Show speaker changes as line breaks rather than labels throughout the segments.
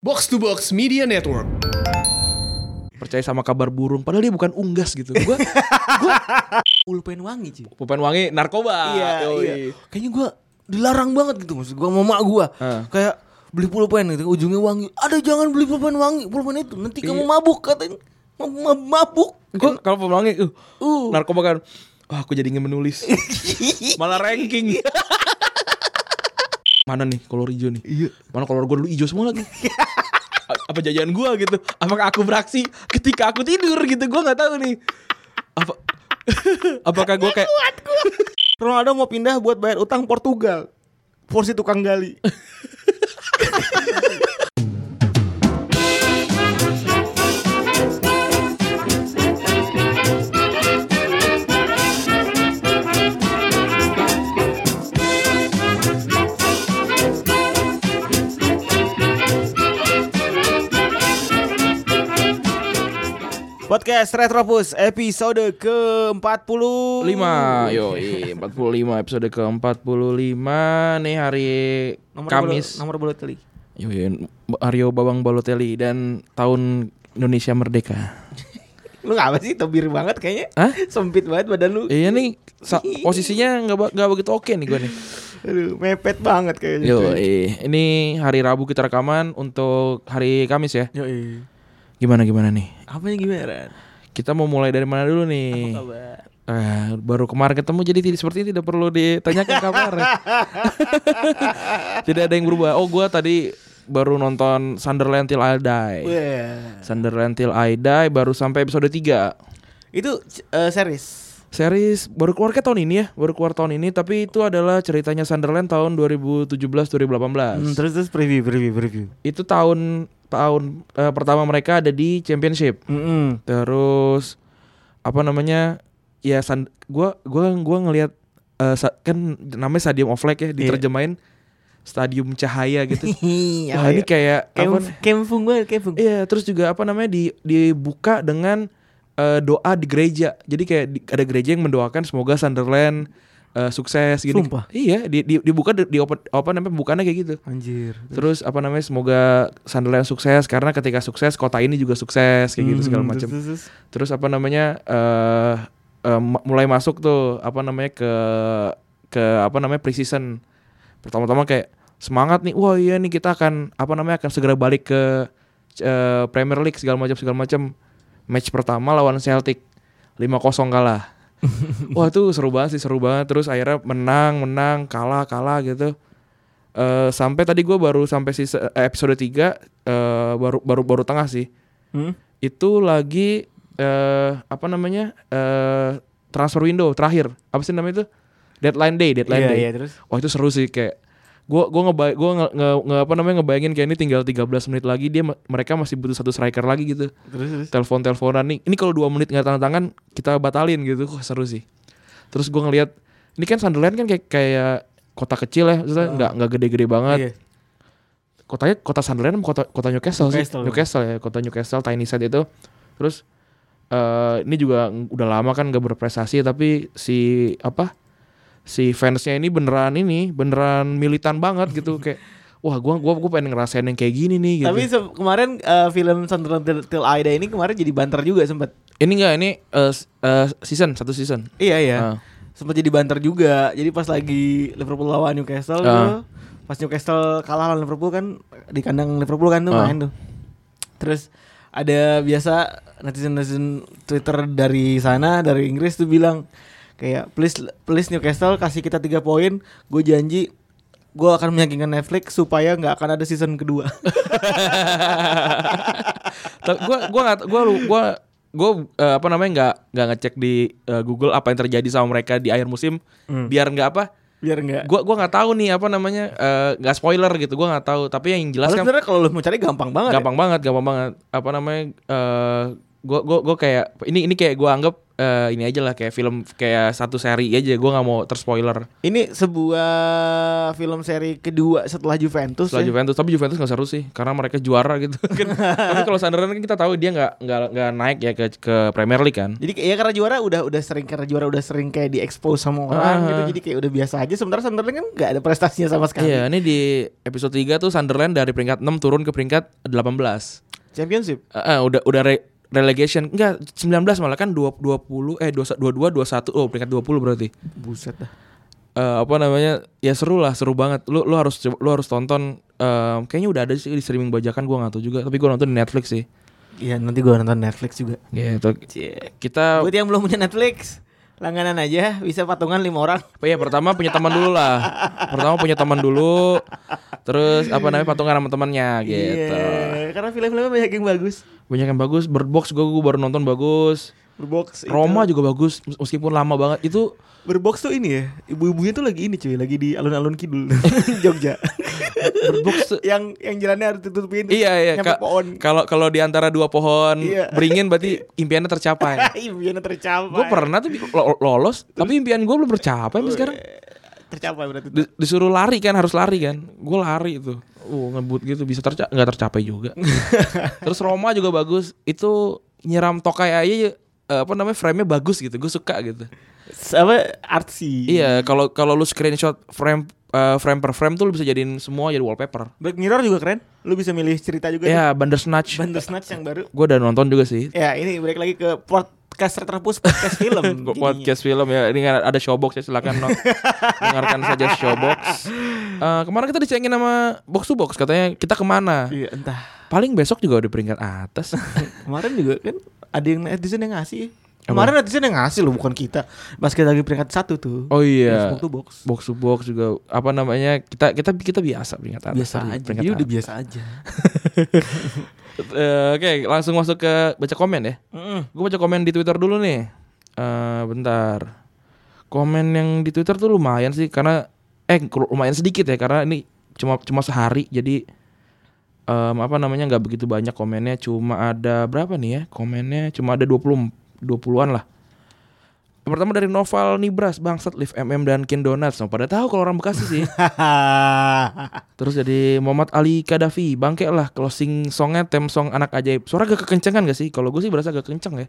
Box to Box Media Network.
percaya sama kabar burung padahal dia bukan unggas gitu gua gua
Pulpen wangi cuy.
Pupen Wangi narkoba
iya,
Yoi.
iya. Kayaknya gue dilarang banget gitu maksud gue sama mak gue.
Heeh.
Kayak beli pulpen gitu ujungnya wangi. Ada jangan beli pulpen wangi, pulpen itu nanti kamu mabuk katanya. Ma- ma- mabuk.
Gua kalau Pupen Wangi uh,
Uh.
narkoba kan wah aku jadi ingin menulis malah ranking mana nih kolor hijau nih iya. mana kolor gua dulu hijau semua lagi A- apa jajan gua gitu apakah aku beraksi ketika aku tidur gitu gua nggak tahu nih apa apakah gua kayak
Ronaldo mau pindah buat bayar utang Portugal. Porsi tukang gali. Podcast Retropus episode ke-40
lima yo 45 episode ke 45 nih hari Kamis
Nomor bola teli
Yo, yo, Aryo Babang Balotelli dan tahun Indonesia Merdeka.
Lu apa sih tebir banget kayaknya
Hah?
Sempit banget badan lu
Iya nih sa- posisinya nggak ba- nggak begitu oke nih gue nih.
Aduh mepet banget kayaknya
Yo, eh, ini hari Rabu kita rekaman untuk hari Kamis ya.
Yo,
Gimana gimana nih?
Apanya gimana Ran?
Kita mau mulai dari mana dulu nih?
Kabar
Eh, baru kemarin ketemu jadi tidak seperti tidak perlu ditanyakan kabar. tidak ada yang berubah. Oh, gue tadi baru nonton Sunderland Till I Die.
Wah.
Sunderland Till I Die baru sampai episode 3.
Itu c- eh, series
Series baru keluar ke tahun ini ya, baru keluar tahun ini tapi itu adalah ceritanya Sunderland tahun 2017 2018.
Terus terus preview preview preview
Itu tahun tahun eh, pertama mereka ada di championship. Terus apa namanya? Ya san, gua gua gua ngelihat eh, sa- kan namanya Stadium of Light ya diterjemahin Stadium Cahaya gitu.
Iya. Ya,
Wah, ini kayak apa nih?
Kempung banget kempung
Iya, terus juga apa namanya di dibuka dengan eh, doa di gereja. Jadi kayak di- ada gereja yang mendoakan semoga Sunderland eh, sukses gini.
Sumpah.
Iya, di, di- dibuka di, di open- apa namanya bukannya kayak gitu.
Anjir
Terus apa namanya semoga Sunderland sukses karena ketika sukses kota ini juga sukses kayak gitu segala macam.
Hmm, Terus, terus, terus.
Terus apa namanya eh eh, ma- mulai masuk tuh apa namanya ke ke apa namanya preseason. Pertama-tama kayak semangat nih. Wah, iya nih kita akan apa namanya akan segera balik ke eh, Premier League segala macam segala macam. Match pertama lawan Celtic 5-0 kalah. Wah, itu seru banget sih, seru banget. Terus akhirnya menang, menang, kalah, kalah gitu. Eh sampai tadi gue baru sampai season- eh, episode 3 eh baru baru baru tengah sih
Hmm?
itu lagi eh apa namanya eh transfer window terakhir apa sih namanya itu deadline day deadline
Iya
day
iya terus
wah itu seru sih kayak gua gua ngebay gua nge, nge- nge- apa namanya ngebayangin kayak ini tinggal 13 menit lagi dia ma- mereka masih butuh satu striker lagi gitu
Terus terus
telepon teleponan nih ini kalau dua menit nggak tanda tangan kita batalin gitu wah seru sih terus gua ngelihat ini kan Sunderland kan kayak kayak kota kecil ya maksudnya nggak nggak gede-gede banget
Ah. Iya.
kotanya kota Sunderland sama kota kota Newcastle,
Newcastle.
sih Newcastle ya kota Newcastle tiny set itu terus eh ini juga ng- udah lama kan gak berprestasi tapi si apa si fansnya ini beneran ini beneran militan banget gitu kayak wah gua gua gua pengen ngerasain yang kayak gini nih gitu
Tapi se- kemarin eh, film Sunderland Till, Till I Die ini kemarin jadi banter juga sempat.
ini enggak ini eh, s- eh, season satu season
Iya iya.
Ah.
Sempat jadi banter juga. Jadi pas lagi Liverpool lawan Newcastle
Ah.
tuh, pas Newcastle kalah lawan Liverpool kan di kandang Liverpool kan tuh
Ah.
main tuh. Terus ada biasa netizen-netizen Twitter dari sana dari Inggris tuh bilang kayak please please Newcastle kasih kita tiga poin, gue janji gue akan meyakinkan Netflix supaya nggak akan ada season kedua.
Tapi gua gua nggak gua lu- gua gua eh, apa namanya nggak nggak ngecek di eh, Google apa yang terjadi sama mereka di akhir musim
Hmm.
biar nggak apa
Biar nggak
gua gua nggak tahu nih apa namanya eh, nggak spoiler gitu gua nggak tahu tapi yang jelas
Padahal
kan
sebenarnya kalau lu mau cari gampang banget. ya.
gampang banget gampang banget apa namanya eh gua gua gua kayak ini ini kayak gua anggap eh, ini aja lah kayak film kayak satu seri aja gue nggak mau terspoiler
Ini sebuah film seri kedua setelah Juventus.
setelah
ya.
Juventus tapi Juventus nggak seru sih karena mereka juara gitu Kan- tapi kalau Sunderland kan kita tahu dia nggak nggak nggak naik ya ke ke Premier League kan
Jadi kayak- ya karena juara udah udah sering karena juara udah sering kayak diekspos sama orang
Ah.
gitu. Jadi kayak udah biasa aja. Sementara Sunderland kan nggak ada prestasinya sama sekali.
Iya, ini di episode 3 tuh Sunderland dari peringkat 6 turun ke peringkat 18.
Championship.
Eh, eh, udah udah re- relegation. Enggak, 19 malah kan 20 20 eh 20 22 21. Oh, peringkat 20 berarti.
Buset dah.
Eh, apa namanya? Ya seru lah, seru banget. Lu lu harus coba- lu harus tonton eh, kayaknya udah ada sih di streaming bajakan gua nggak tahu juga, tapi gua nonton di Netflix sih.
Iya nanti gua nonton Netflix juga.
Gitu.
Cek.
Kita
Buat yang belum punya Netflix, langganan aja bisa patungan lima orang.
apa ya pertama punya teman dulu lah. Pertama punya teman dulu. Terus apa namanya patungan sama temannya gitu.
Iya, karena film-filmnya banyak yang bagus.
Banyak yang bagus, Bird Box gua, gua baru nonton bagus.
Berbox. itu-
Roma juga bagus mes- meskipun lama banget itu
Berbox tuh ini ya. Ibu-ibunya tuh lagi ini cuy, lagi di alun-alun kidul Jogja.
berbox tuh-
yang yang jalannya harus ditutupin.
iya iya
Nyampe
ka-
pohon.
kalau kalau di antara dua pohon
Iya.
beringin berarti impiannya tercapai
Ibunya tercapai.
gue pernah tuh lo- lolos tapi impian gue belum tercapai
Oh,
sampai sekarang
iya. tercapai berarti.
Di- disuruh lari kan harus lari kan gue lari itu uh ngebut gitu bisa terca nggak tercapai juga terus Roma juga bagus itu nyeram tokai aja eh, apa namanya frame-nya bagus gitu gue suka gitu
apa artsy.
iya kalau kalau lu screenshot frame eh, frame per frame tuh lu bisa jadiin semua jadi wallpaper
Black Mirror juga keren. Lu bisa milih cerita juga.
Iya, Bandersnatch.
tuh. Bandersnatch yang baru.
gue udah nonton juga sih
Ya, ini balik lagi ke podcast terpus podcast film.
Kok
jadinya.
podcast film ya ini kan ada showbox ya silakan no. dengarkan saja showbox Eh, kemarin kita dicengin sama box to box katanya kita kemana
Iya, entah.
paling besok juga udah peringkat atas
Kemarin juga kan ada yang netizen yang ngasih. Kemarin netizen yang ngasih loh, bukan kita. Basket lagi peringkat satu tuh.
oh iya
Box to box.
box to box juga apa namanya kita kita kita biasa peringkat atas
Biasa
Sorry,
aja.
peringkat
Ini udah
atas.
biasa aja.
Eh, oke langsung masuk ke baca komen ya
Mm-mm.
gue baca komen di Twitter dulu nih. Eh bentar. Komen yang di Twitter tuh lumayan sih karena eh lumayan sedikit ya karena ini cuma cuma sehari jadi em, apa namanya nggak begitu banyak komennya cuma ada berapa nih ya? Komennya cuma ada 20 20-an lah. Yang pertama dari Noval Nibras, Bangsat, Live MM dan Kin Donuts. Nah, pada tahu kalau orang Bekasi sih. Terus jadi Muhammad Ali Kadafi, bangke lah closing songnya tem song anak ajaib. Suara agak kekencengan gak sih? Kalau gue sih berasa agak kenceng ya.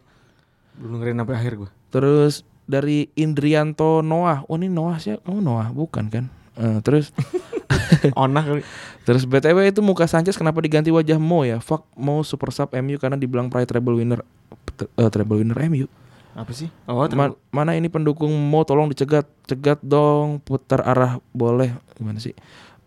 Belum dengerin sampai akhir gue.
Terus dari Indrianto Noah. Oh ini Noah sih. Kamu Noah bukan kan? Eh, terus
Onah kali.
terus BTW itu muka Sanchez kenapa diganti wajah Mo ya? Fuck Mo super sub MU karena dibilang pride treble winner eh, treble winner MU.
Apa sih? Oh,
Ma- mana ini pendukung Mo tolong dicegat, cegat dong, putar arah boleh gimana sih?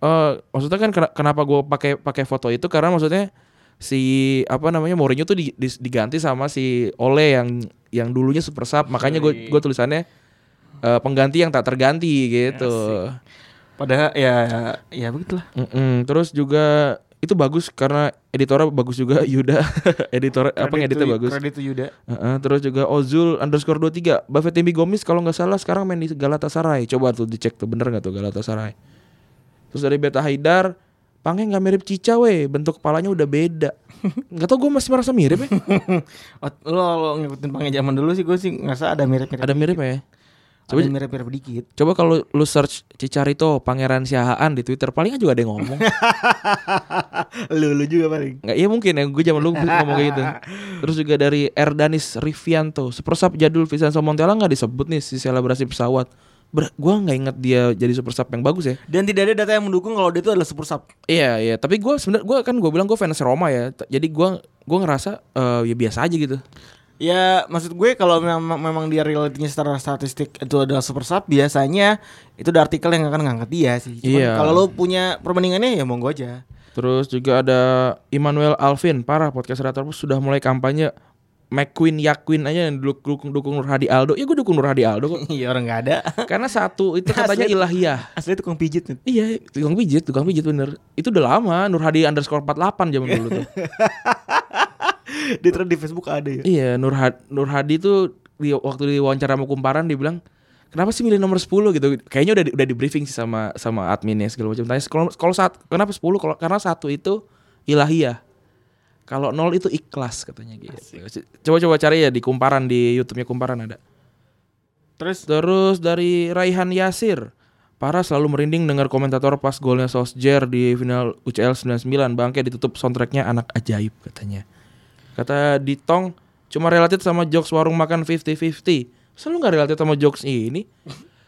Eh maksudnya kan kena- kenapa gue pakai pakai foto itu karena maksudnya si apa namanya Mourinho tuh di- di- diganti sama si Ole yang yang dulunya super sub makanya gue gue tulisannya eh, pengganti yang tak terganti gitu.
Padahal ya ya begitulah.
Mm-mm. Terus juga itu bagus karena editornya bagus juga Yuda editor apa ngeditnya bagus.
Kredit tuh Yuda.
Heeh, terus juga Ozul underscore 23 Buffett Timbi Gomis kalau nggak salah sekarang main di Galatasaray Coba tuh dicek tuh bener nggak tuh Galatasaray Terus dari Beta Haidar Pange nggak mirip Cica weh Bentuk kepalanya udah beda Nggak tau gue masih merasa mirip ya
Oh, lo, lo ngikutin pange zaman dulu sih gue sih ngerasa ada mirip-mirip.
Ada mirip ya
Ada
Coba,
mirip-mirip dikit.
coba kalau lu search Cicarito Pangeran Siahaan di Twitter Paling juga ada yang ngomong
lu lu juga paling.
Nggak, iya mungkin ya gue zaman dulu bisa ngomong kayak gitu. Terus juga dari Erdanis Rivianto, supersub jadul Vincenzo Montella nggak disebut nih si selebrasi pesawat. Ber gua nggak inget dia jadi supersub yang bagus ya.
Dan tidak ada data yang mendukung kalau dia itu adalah super sub.
Iya iya, tapi gua sebenarnya gua kan gue bilang gue fans Roma ya. T- Jadi gua gua ngerasa eh, ya biasa aja gitu.
Ya maksud gue kalau memang, memang dia realitinya secara statistik itu adalah super sub biasanya itu ada artikel yang akan ngangkat dia sih. Cuman
Iya.
kalau lo punya perbandingannya ya monggo aja.
Terus juga ada Immanuel Alvin, parah podcast Retropus sudah mulai kampanye McQueen Yaquin aja yang dulu- dukung dukung Nur Hadi Aldo. Ya gue dukung Nur Hadi Aldo kok.
Iya orang nggak ada.
Karena satu itu katanya
Asli.
ilahiyah.
Asli tukang pijit nih.
Iya, tukang pijit, tukang pijit bener. Itu udah lama, Nur Hadi underscore 48 zaman dulu tuh.
Dia terus di Facebook ada ya.
iya, Nur, Had- Nur Hadi tuh di, waktu diwawancara sama kumparan dia bilang, kenapa sih milih nomor 10 gitu? Kayaknya udah di, udah di briefing sih sama sama adminnya segala macam. Tanya, kalau kalau saat kenapa 10? Kalau karena satu itu ilahiyah. Kalau nol itu ikhlas katanya gitu. Coba-coba cari ya di kumparan di YouTube-nya kumparan ada.
Terus
Terus dari Raihan Yasir. Para selalu merinding dengar komentator pas golnya Sosjer di final UCL 99. Bangke ditutup soundtracknya anak ajaib katanya. Kata Ditong, cuma related sama jokes warung makan 50-50. Masa lu gak related sama jokes ini?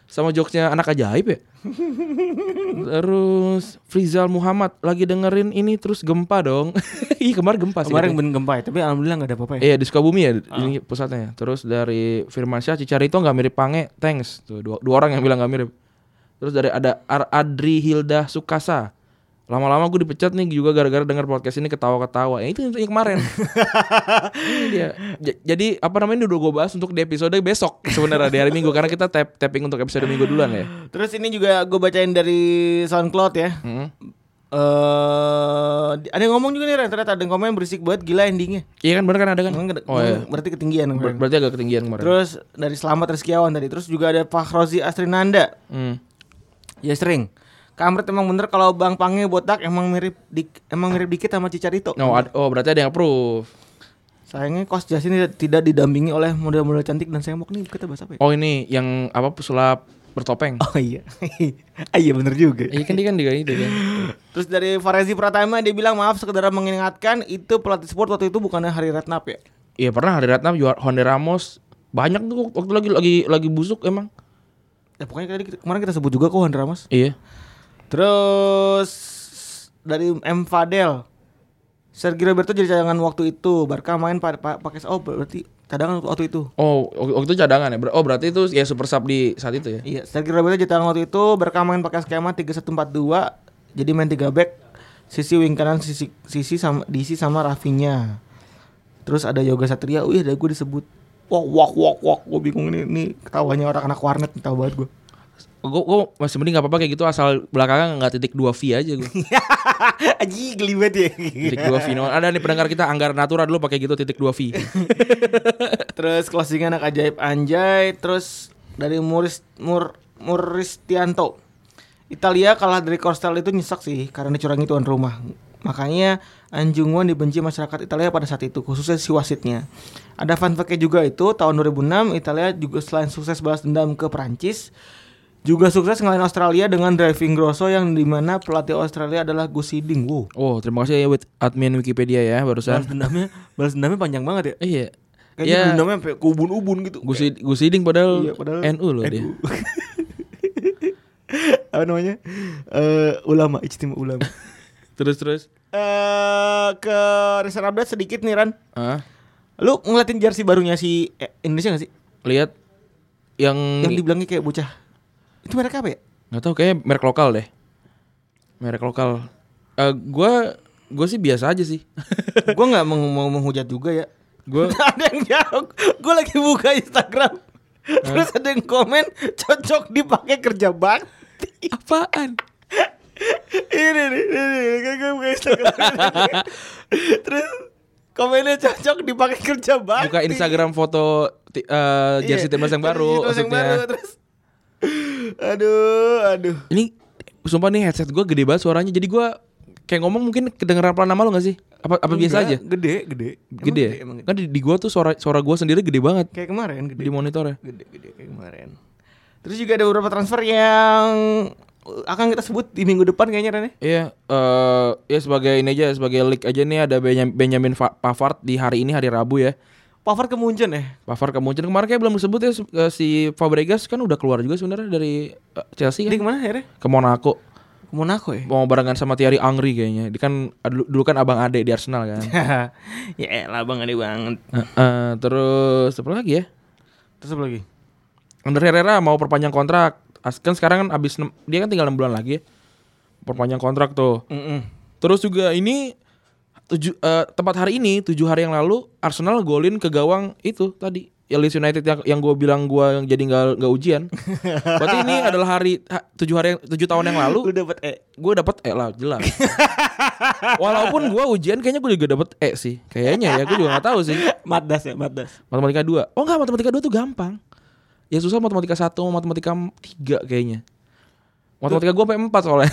Sama jokesnya anak ajaib ya? Terus Frizal Muhammad lagi dengerin ini terus gempa dong. Ih kemarin gempa sih.
kemarin
katanya.
bener gempa ya, tapi alhamdulillah nggak ada apa-apa ya.
Iya di Sukabumi ya ini pusatnya. Terus dari Firmansyah Cicarito nggak mirip Pange, thanks. Tuh dua, dua orang yang bilang nggak mirip. Terus dari ada Ar- Adri Hilda Sukasa. Lama-lama gue dipecat nih juga gara-gara dengar podcast ini ketawa-ketawa. Ya itu yang kemarin. Ini dia. J- Jadi apa namanya ini udah gue bahas untuk di episode besok sebenarnya di hari Minggu karena kita tap tapping untuk episode Minggu duluan ya.
Terus ini juga gue bacain dari SoundCloud ya.
Mm.
Eh, di- ada yang ngomong juga nih Ren, ternyata ada yang komen berisik banget gila endingnya.
Iya kan bener kan ada kan?
Emang-
Oh iya.
Berarti ketinggian
Ber-
kemarin.
berarti agak ketinggian kemarin.
Terus dari Selamat Rizkiawan tadi. Terus juga ada Pak Rozi Astrinanda.
Hmm.
Ya sering. Kamret emang bener kalau Bang Pange botak emang mirip dik- emang mirip dikit sama Cicarito.
No, ad- oh berarti ada yang approve.
Sayangnya kos jas ini tidak didampingi oleh model-model cantik dan semok nih kita bahas apa ya?
Oh ini yang apa pesulap bertopeng.
Oh iya. Ah, iya bener juga.
Iya kan dia kan dia itu kan.
Terus dari Farezi Pratama dia bilang maaf sekedar mengingatkan itu pelatih sport waktu itu bukannya Hari Ratnap ya.
Iya pernah hari Ratna juara Honda Ramos banyak tuh waktu lagi lagi lagi busuk emang.
Ya pokoknya tadi kita- kemarin kita sebut juga kok Handra Mas.
Iya.
Terus dari M Fadel Sergio Roberto jadi cadangan waktu itu. Barca main pa- pa- pakai oh berarti cadangan waktu itu.
Oh wak- waktu itu cadangan ya. Ber- Oh berarti itu ya super sub di saat itu ya.
Iya, Sergio Roberto jadi cadangan waktu itu. Barca main pakai skema 3-1-4-2. Jadi main 3 back, sisi wing kanan, sisi sisi sama diisi sama Rafinha. Terus ada Yoga Satria. Wih, ada gue disebut. Wok wok wok wok. Gue bingung nih, nih ketawanya orang anak warnet tahu banget gue.
Gue gue masih mending nggak apa-apa kayak gitu asal belakangnya nggak titik dua V aja gue.
Aji geli banget ya.
titik dua V. No, ada nih pendengar kita Anggar Natura dulu pakai gitu titik dua V.
Terus closingnya anak ajaib anjay. Terus dari Muris Mur Muristianto. Italia kalah dari Korsel itu nyesek sih karena dicurangi tuan rumah. Makanya Anjunguan dibenci masyarakat Italia pada saat itu, khususnya si wasitnya. Ada fun fact-nya juga itu, tahun 2006 Italia juga selain sukses balas dendam ke Prancis, juga sukses ngalahin Australia dengan driving grosso yang dimana pelatih Australia adalah Gus Hiddink. Wow,
Oh terima kasih ya with admin Wikipedia ya
balas
barusan.
dendamnya, balas dendamnya panjang banget ya.
Iya.
Kayaknya
Iya.
dendamnya sampai ke ubun-ubun gitu.
Gus Id- Gus Iding padahal,
Iya, padahal
NU loh dia.
apa namanya Eh, ulama ijtima ulama
Terus terus.
Eh, ke recent update sedikit nih Ran
Ah
lu ngeliatin jersey barunya si eh, Indonesia gak sih
lihat yang
yang dibilangnya kayak bocah itu mereka apa ya
nggak tahu kayaknya merek lokal deh merek lokal Eh gue gue sih biasa aja sih
gue nggak mau, mau menghujat juga ya
gue
ada yang jawab gue lagi buka Instagram terus ada yang komen cocok dipakai kerja bakti
apaan
ini nih, ini nih, gue gue buka Instagram terus komennya cocok dipakai kerja bakti
buka Instagram foto ti- eh, jersey
Iya,
timnas yang
jersey
baru
timnas yang
maksudnya
baru, terus. aduh aduh
ini sumpah nih headset gue gede banget suaranya jadi gue kayak ngomong mungkin kedengeran pelan nama lo gak sih apa apa biasa aja
Enggak, gede gede Emang
gede ya?
emang
kan di, di gue tuh suara suara gue sendiri gede banget
kayak kemarin gede
di monitor ya
gede gede kayak kemarin terus juga ada beberapa transfer yang akan kita sebut di minggu depan kayaknya ya. Rene
Iya, eh ya sebagai ini aja sebagai leak aja nih ada Benya- Benjamin Fa- Pavard di hari ini hari Rabu ya.
Pavard ke Munchen ya
Pavard ke Munchen kemarin kayak belum disebut ya se- eh, si Fabregas kan udah keluar juga sebenarnya dari eh, Chelsea
dia
kan
kemana akhirnya
ke Monaco
ke Monaco ya
mau barengan sama Thierry Angri kayaknya. Dia kan dulu, dulu kan abang ade di Arsenal kan.
Iya. ya elah bang ada banget
Eh, eh, terus apa lagi ya?
terus apa lagi
Ander Herrera mau perpanjang kontrak. As- Kan sekarang kan abis 6, dia kan tinggal 6 bulan lagi ya. Perpanjang kontrak tuh.
Mm-mm.
Terus juga ini tujuh eh, tempat hari ini tujuh hari yang lalu Arsenal golin ke gawang itu tadi ya Leeds United yang, yang gue bilang gue jadi nggak nggak ujian. Berarti ini adalah hari ha- tujuh hari yang- tujuh tahun yang lalu
lu dapat eh
gue dapet E lah jelas. Walaupun gue ujian kayaknya gue juga dapet E sih kayaknya ya gue juga nggak tahu sih.
Matdas ya Matdas
Matematika 2 Oh enggak matematika 2 tuh gampang Ya susah matematika 1 sama matematika 3 kayaknya Matematika gue sampai 4 soalnya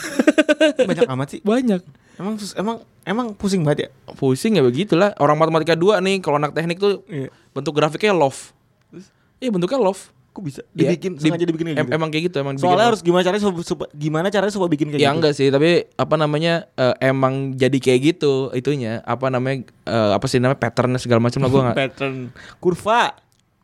banyak amat sih
Banyak
Emang sus- emang emang pusing banget ya?
Pusing ya begitulah. Orang matematika 2 nih kalau anak teknik tuh
Iya.
bentuk grafiknya love. Iya bentuknya love.
Kok bisa
Iya,
dibikin
di-
sengaja dibikin kayak
em-
gitu?
Emang kayak gitu emang dibikin
Soalnya
love.
harus gimana caranya sup- sup- gimana caranya supaya bikin kayak
ya
gitu?
enggak sih tapi apa namanya eh, emang jadi kayak gitu itunya apa namanya eh, apa sih namanya patternnya segala macam lah gue nggak
Pattern kurva.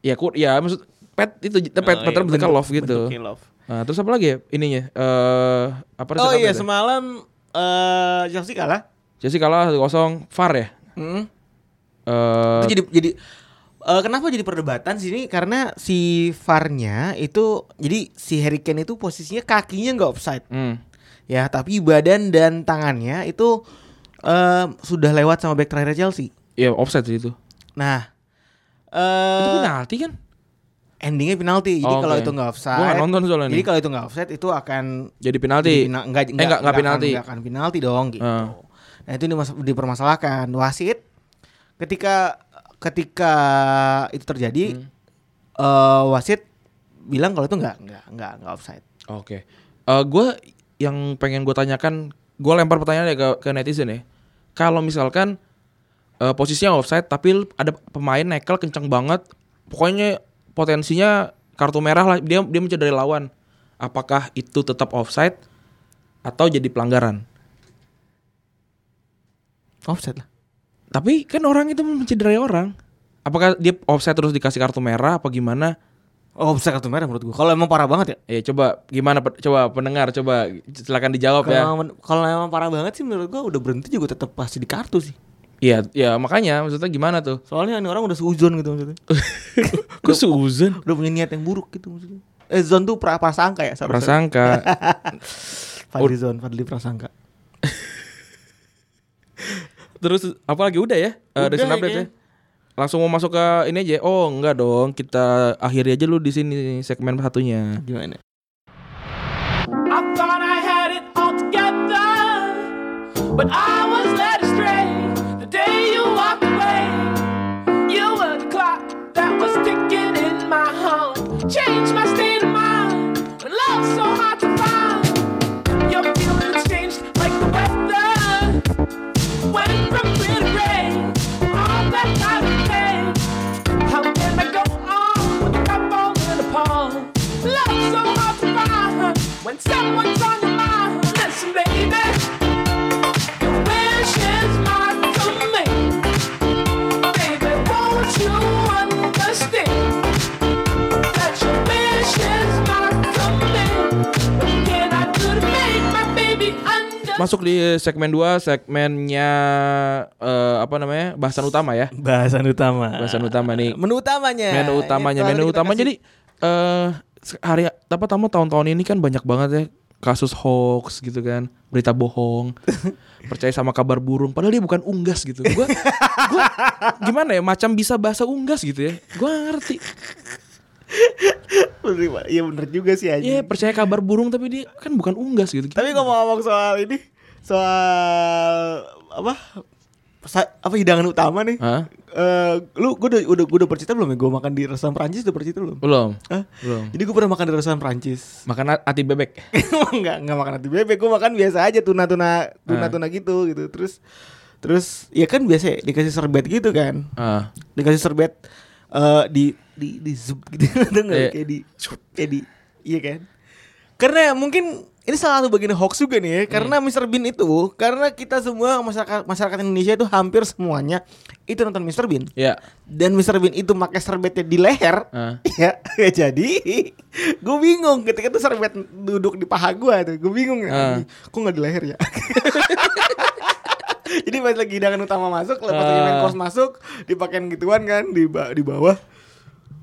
ya kur ya maksud pet itu j- pet,
Oh, iya,
pattern bentuknya love
bentuk-
gitu
bentuknya love.
Nah, terus apa lagi ya ininya eh apa resep
Oh
apa
iya
itu?
semalam eh Chelsea kalah.
jadi kalah satu kosong far ya
Mm.
Eh
Itu jadi jadi eh, kenapa jadi perdebatan sini karena si VAR-nya itu jadi si Harry Kane itu posisinya kakinya nggak offside
hmm.
ya tapi badan dan tangannya itu eh, sudah lewat sama back terakhir Chelsea.
ya offset sih itu
Nah,
itu
eh
penalti kan
endingnya penalti. Jadi
Oh,
kalau
oke.
itu nggak offside,
Gua nggak nonton soalnya
jadi
nih.
kalau itu nggak offside itu akan
jadi penalti
Jadi pena- enggak,
eh enggak enggak
akan-
penalti
enggak akan penalti dong gitu.
Ah.
Nah, itu dimas- dipermasalahkan wasit ketika ketika itu terjadi
Hmm.
eh, wasit bilang kalau itu enggak enggak enggak enggak offside.
Oke. Eh gue yang pengen gue tanyakan, gue lempar pertanyaan ya ke, ke netizen ya. Kalau misalkan eh, posisinya offside tapi ada pemain nekel kenceng banget, pokoknya potensinya kartu merah lah dia dia mencederai lawan. Apakah itu tetap offside atau jadi pelanggaran?
Offside lah.
Tapi kan orang itu mencederai orang. Apakah dia offside terus dikasih kartu merah apa gimana?
Oh, offside kartu merah menurut gua. Kalau emang parah banget ya.
Ya coba gimana pe- coba pendengar coba silakan dijawab
Kalau
ya.
emang, kalau emang parah banget sih menurut gua udah berhenti juga tetap pasti di kartu sih.
Iya ya makanya maksudnya gimana tuh?
Soalnya ini orang udah seuzon gitu maksudnya.
Kok Susan?
udah punya niat yang buruk gitu maksudnya. Eh, zon tuh pra prasangka ya? sorry, sorry.
Prasangka.
Fadli zon, Fadli prasangka.
Terus apalagi udah ya? Eh,
Udah
recent
ya
update ya.
kayaknya.
Langsung mau masuk ke ini aja. Oh, enggak dong. Kita akhiri aja lu di sini segmen satunya.
Gimana?
I thought I had it all together, but I was led astray the day you walked away. You were the clock that was ticking in my heart. Changed my state of mind when love's so hard to find. Your feelings changed like the weather. Went from clear to gray, all that I would pay. How can I go on with a cup all in a palm? Love so hard to find when someone's on your mind. Listen, baby, your wish is my command. Baby, won't you understand that your wish is my command? What can I do to make my baby understand?
Masuk di segmen 2, segmennya eh, apa namanya? bahasan utama ya.
Bahasan utama.
Bahasan utama nih.
Menu utamanya.
Menu utamanya,
Itu
menu
kita
utama
kasih-
jadi eh hari apa tamu tahun-tahun ini kan banyak banget ya kasus hoax gitu kan, berita bohong, percaya sama kabar burung padahal dia bukan unggas gitu. Gua gua gimana ya macam bisa bahasa unggas gitu ya. Gua nggak ngerti.
Bener, Pak. Iya bener juga sih aja.
Iya percaya kabar burung tapi dia kan bukan unggas gitu.
Tapi ngomong-ngomong soal ini, soal apa? Sa- apa hidangan utama nih?
Hah?
Eh, lu gue udah udah gue udah percita belum ya? Gue makan di restoran Prancis udah percita belum?
belum.
Hah?
Belum.
Jadi gue pernah makan di restoran Prancis.
Makan a- ati bebek.
enggak enggak makan hati bebek, gue makan biasa aja tuna tuna tuna tuna gitu gitu. Terus terus ya kan biasa ya, dikasih sorbet gitu kan.
Ah,
dikasih sorbet eh di di di zup gitu tuh
Iya.
nggak kayak di kayak di iya kan karena mungkin ini salah satu bagian hoax juga nih ya karena Mr Bean itu karena kita semua masyarakat masyarakat Indonesia itu hampir semuanya itu nonton Mr Bean
ya.
dan Mr Bean itu pakai sorbetnya di leher
Ah.
ya, ya jadi gue bingung ketika tuh sorbet duduk di paha gue tuh gue bingung
Ah.
ya kok nggak di leher ya jadi pas lagi hidangan utama masuk lepas lagi main
Ah.
course masuk dipakein gituan kan di ba- di bawah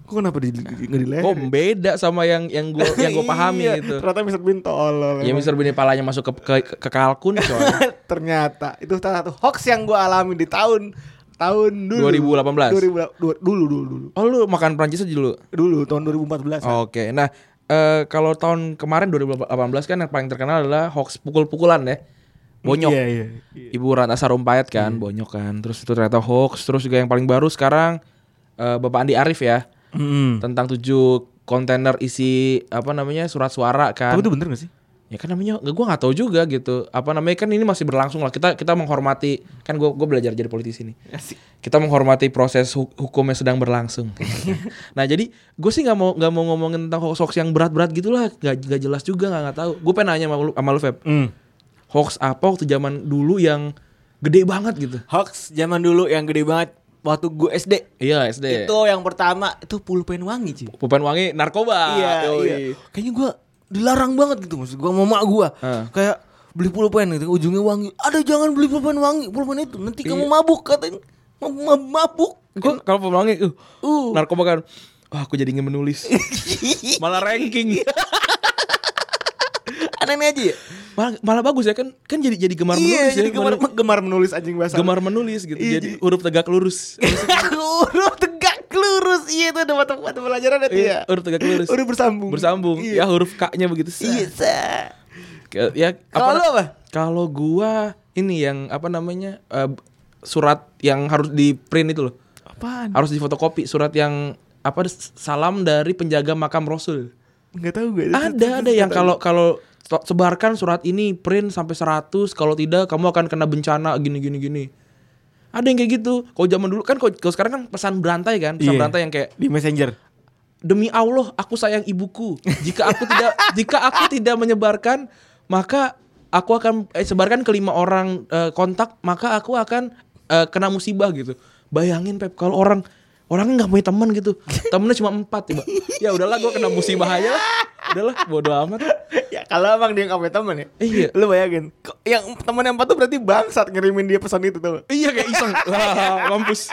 kok kenapa di, di, nggak di leher
Oh, beda sama yang yang gua yang gua pahami
Iya,
itu.
ternyata Mr. Bean tolol
Ya
emang.
Mister Bini palanya masuk ke ke, ke kalkun coy.
ternyata itu salah satu hoax yang gue alami di tahun tahun dulu
2018.
2000 dua- dulu dulu dulu
Oh, lu makan Prancis aja dulu.
dulu tahun 2014 kan.
Oke. Nah, eh kalau tahun kemarin 2018 kan yang paling terkenal adalah hoax pukul-pukulan ya. Bonyok.
iya iya
Ibu Ratna Sarumpayat kan, bonyok kan. Terus itu ternyata hoax. Terus juga yang paling baru sekarang eh, Bapak Andi Arief ya.
Mm.
tentang tujuh kontainer isi apa namanya surat suara kan
Tapi itu bener gak sih?
ya kan namanya nggak gue nggak tahu juga gitu apa namanya kan ini masih berlangsung lah kita kita menghormati kan gue gue belajar jadi politisi nih
Ya
kita menghormati proses hu- hukum yang sedang berlangsung nah jadi gue sih nggak mau nggak mau ngomongin tentang hoax hoax yang berat-berat gitulah nggak nggak jelas juga nggak nggak tahu gue pengen nanya sama lu sama lu Feb
Hmm.
hoax apa waktu zaman dulu yang gede banget gitu
Hoax zaman dulu yang gede banget waktu gue SD.
iya SD
Itu yang pertama itu pulpen wangi cuy.
Pupan wangi narkoba
iya,
Ah, Yoi.
iya. Kayaknya gue dilarang banget gitu maksud gue sama mak gue.
Heeh.
Kayak beli pulpen gitu ujungnya wangi. Ada jangan beli pulpen wangi, pulpen itu nanti kamu
Iya.
mabuk katanya. Mab- mab- Mabuk.
Gue kalau pemelangi uh,
Uh.
narkoba kan. Wah, aku jadi ingin menulis. malah ranking.
Iya. Aneh-aneh aja ya.
malah, malah bagus ya kan kan jadi jadi gemar menulis
iya, jadi
ya.
gemar,
malah-
gemar menulis anjing bahasa.
gemar menulis gitu.
Iya,
jadi
jadi-
huruf tegak lurus.
Huruf tegak lurus Iya itu ada mata mata pelajaran itu ya
Iya, huruf tegak lurus.
Huruf bersambung
Bersambung. Ya
Iya
huruf K-nya begitu.
Iya
Set.
sa.
Ke- Ya
Kalau lu apa?
Kalau gua ini yang apa namanya? eh, surat yang harus di print itu loh.
Apaan?
Harus difotokopi surat yang apa salam dari penjaga makam Rasul.
Enggak tahu gue
ada ya. ada yang kalau kalau to- sebarkan surat ini print sampai 100 kalau tidak kamu akan kena bencana gini gini gini ada yang kayak gitu kalau zaman dulu kan kalau kalau sekarang kan pesan berantai kan pesan
Iya.
berantai yang kayak
Di messenger
demi Allah aku sayang ibuku jika aku tidak jika aku tidak menyebarkan maka aku akan eh, sebarkan ke lima orang eh, kontak maka aku akan eh, kena musibah gitu bayangin Pep kalau orang orang nggak punya teman gitu temennya cuma empat tiba ya udahlah gue kena musibah aja lah udahlah bodo amat
Ya kalau emang dia nggak punya temen ya
Iya.
Lu bayangin Ko- Yang temen yang empat tuh berarti bangsat ngirimin dia pesan itu tuh
Iya kayak iseng. Wah, mampus.